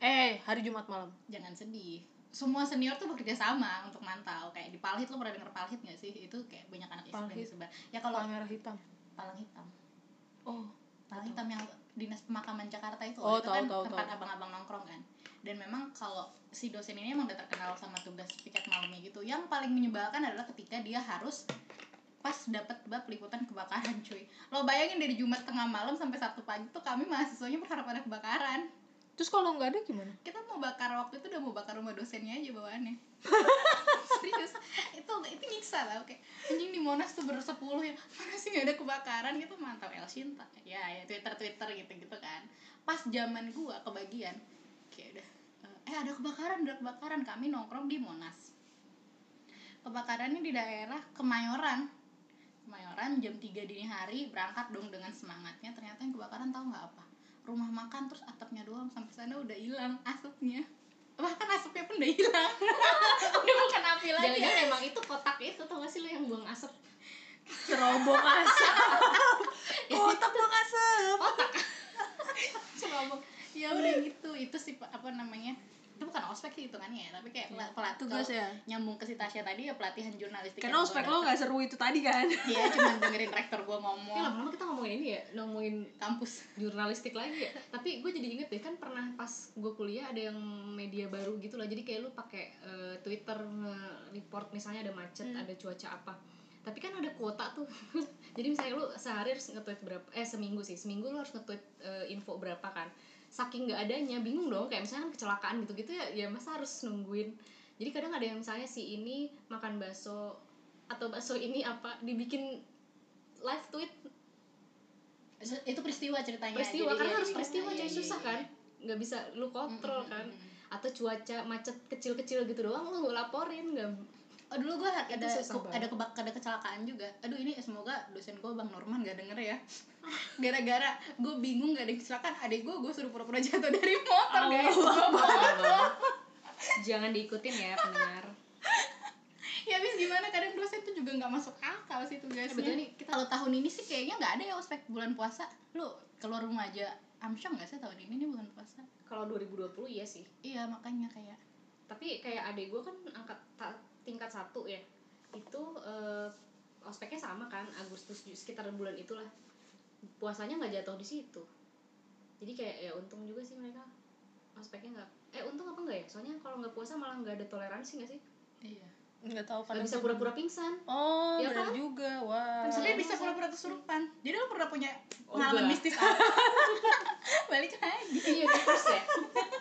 Speaker 1: eh hari Jumat malam
Speaker 2: jangan sedih semua senior tuh bekerja sama untuk mantau kayak di Palhit lo pernah denger Palhit gak sih itu kayak banyak anak ISIS yang
Speaker 1: Palhit.
Speaker 2: disebar ya kalau
Speaker 1: kalau merah hitam
Speaker 2: Palang Hitam
Speaker 1: oh
Speaker 2: Palang Hitam yang dinas pemakaman Jakarta itu
Speaker 1: Oh,
Speaker 2: loh, itu
Speaker 1: tahu,
Speaker 2: kan
Speaker 1: tahu,
Speaker 2: tempat
Speaker 1: tahu.
Speaker 2: abang-abang nongkrong kan dan memang kalau si dosen ini emang udah terkenal sama tugas piket malamnya gitu yang paling menyebalkan adalah ketika dia harus pas dapat bab liputan kebakaran cuy lo bayangin dari Jumat tengah malam sampai Sabtu pagi tuh kami mahasiswanya berharap ada kebakaran
Speaker 1: terus kalau nggak ada gimana
Speaker 2: kita mau bakar waktu itu udah mau bakar rumah dosennya aja bawaannya serius itu itu nyiksa lah oke anjing di monas tuh bersepuluh ya mana sih nggak ada kebakaran gitu mantap El Shinta ya ya twitter twitter gitu gitu kan pas zaman gua kebagian kayak udah eh ada kebakaran ada kebakaran kami nongkrong di monas kebakarannya di daerah Kemayoran Kemayoran jam 3 dini hari berangkat dong dengan semangatnya ternyata yang kebakaran tahu nggak apa rumah makan terus atapnya doang sampai sana udah hilang asapnya bahkan asapnya pun udah hilang udah bukan api lagi
Speaker 3: jangan-jangan emang itu kotak itu tau gak sih lu yang buang asap
Speaker 1: cerobong asap kotak buang asap
Speaker 2: Cerobong. ya udah gitu itu sih Pak, apa namanya itu bukan ospek sih hitungannya ya tapi kayak
Speaker 1: Iya.
Speaker 2: pelatih
Speaker 1: Tugas ya?
Speaker 2: nyambung ke si Tasya tadi ya pelatihan jurnalistik
Speaker 1: karena ospek lo nggak seru itu tadi kan
Speaker 2: ya cuma dengerin rektor gua
Speaker 3: ini
Speaker 2: ngomong
Speaker 3: lama-lama kita ngomongin ini ya ngomongin
Speaker 2: kampus
Speaker 3: jurnalistik lagi ya tapi gue jadi inget deh kan pernah pas gue kuliah ada yang media baru gitu lah jadi kayak lu pakai eh, twitter report misalnya ada macet ada cuaca apa tapi kan ada kuota tuh jadi misalnya lu sehari harus nge-tweet berapa eh seminggu sih seminggu lu harus nge-tweet eh, info berapa kan saking nggak adanya bingung dong kayak misalnya kan kecelakaan gitu-gitu ya ya masa harus nungguin jadi kadang ada yang misalnya si ini makan bakso atau bakso ini apa dibikin live tweet
Speaker 2: itu peristiwa ceritanya
Speaker 3: peristiwa
Speaker 2: Jadi,
Speaker 3: karena
Speaker 2: ya,
Speaker 3: harus
Speaker 2: jadi-
Speaker 3: peristiwa
Speaker 2: iya,
Speaker 3: jadi
Speaker 2: iya,
Speaker 3: susah
Speaker 2: iya.
Speaker 3: kan nggak bisa lu kontrol
Speaker 2: Mm-mm,
Speaker 3: kan
Speaker 2: mm-mm.
Speaker 3: atau cuaca macet kecil-kecil gitu doang lu laporin nggak
Speaker 2: Oh dulu gue ada
Speaker 1: Itu
Speaker 2: ke-
Speaker 1: susah banget.
Speaker 2: ada kebak ada kecelakaan juga. Aduh ini semoga dosen gue bang Norman gak denger ya. Gara-gara gue bingung gak ada yang kecelakaan. Adik gue gue suruh pura-pura jatuh dari motor
Speaker 3: Allah
Speaker 2: guys. Gua foto.
Speaker 3: jangan diikutin ya pendengar
Speaker 2: ya abis gimana kadang dosen tuh juga nggak masuk akal sih tugasnya.
Speaker 3: Eh, betul nih, kita-
Speaker 2: Kalau tahun ini sih kayaknya nggak ada ya ospek bulan puasa. Lu keluar rumah aja amsyong gak sih tahun ini nih bulan puasa?
Speaker 3: kalau 2020 iya sih
Speaker 2: Iya makanya kayak
Speaker 3: tapi kayak adik gue kan angkat ta- tingkat satu ya itu eh, ospeknya sama kan Agustus ju- sekitar bulan itulah puasanya nggak jatuh di situ jadi kayak ya untung juga sih mereka ospeknya nggak eh untung apa nggak ya soalnya kalau nggak puasa malah nggak ada toleransi nggak sih
Speaker 2: iya.
Speaker 1: nggak tahu
Speaker 3: nggak bisa pura-pura pingsan
Speaker 1: oh
Speaker 3: Ya
Speaker 1: benar
Speaker 3: kan?
Speaker 1: juga wah
Speaker 3: Kan
Speaker 2: Sebenarnya
Speaker 3: Iya,
Speaker 2: bisa
Speaker 3: masa-
Speaker 2: pura-pura kesurupan. Jadi lu pernah punya
Speaker 3: Oh,
Speaker 2: pengalaman
Speaker 3: enggak.
Speaker 2: mistis apa? Balik lagi.
Speaker 3: Iya, di first ya.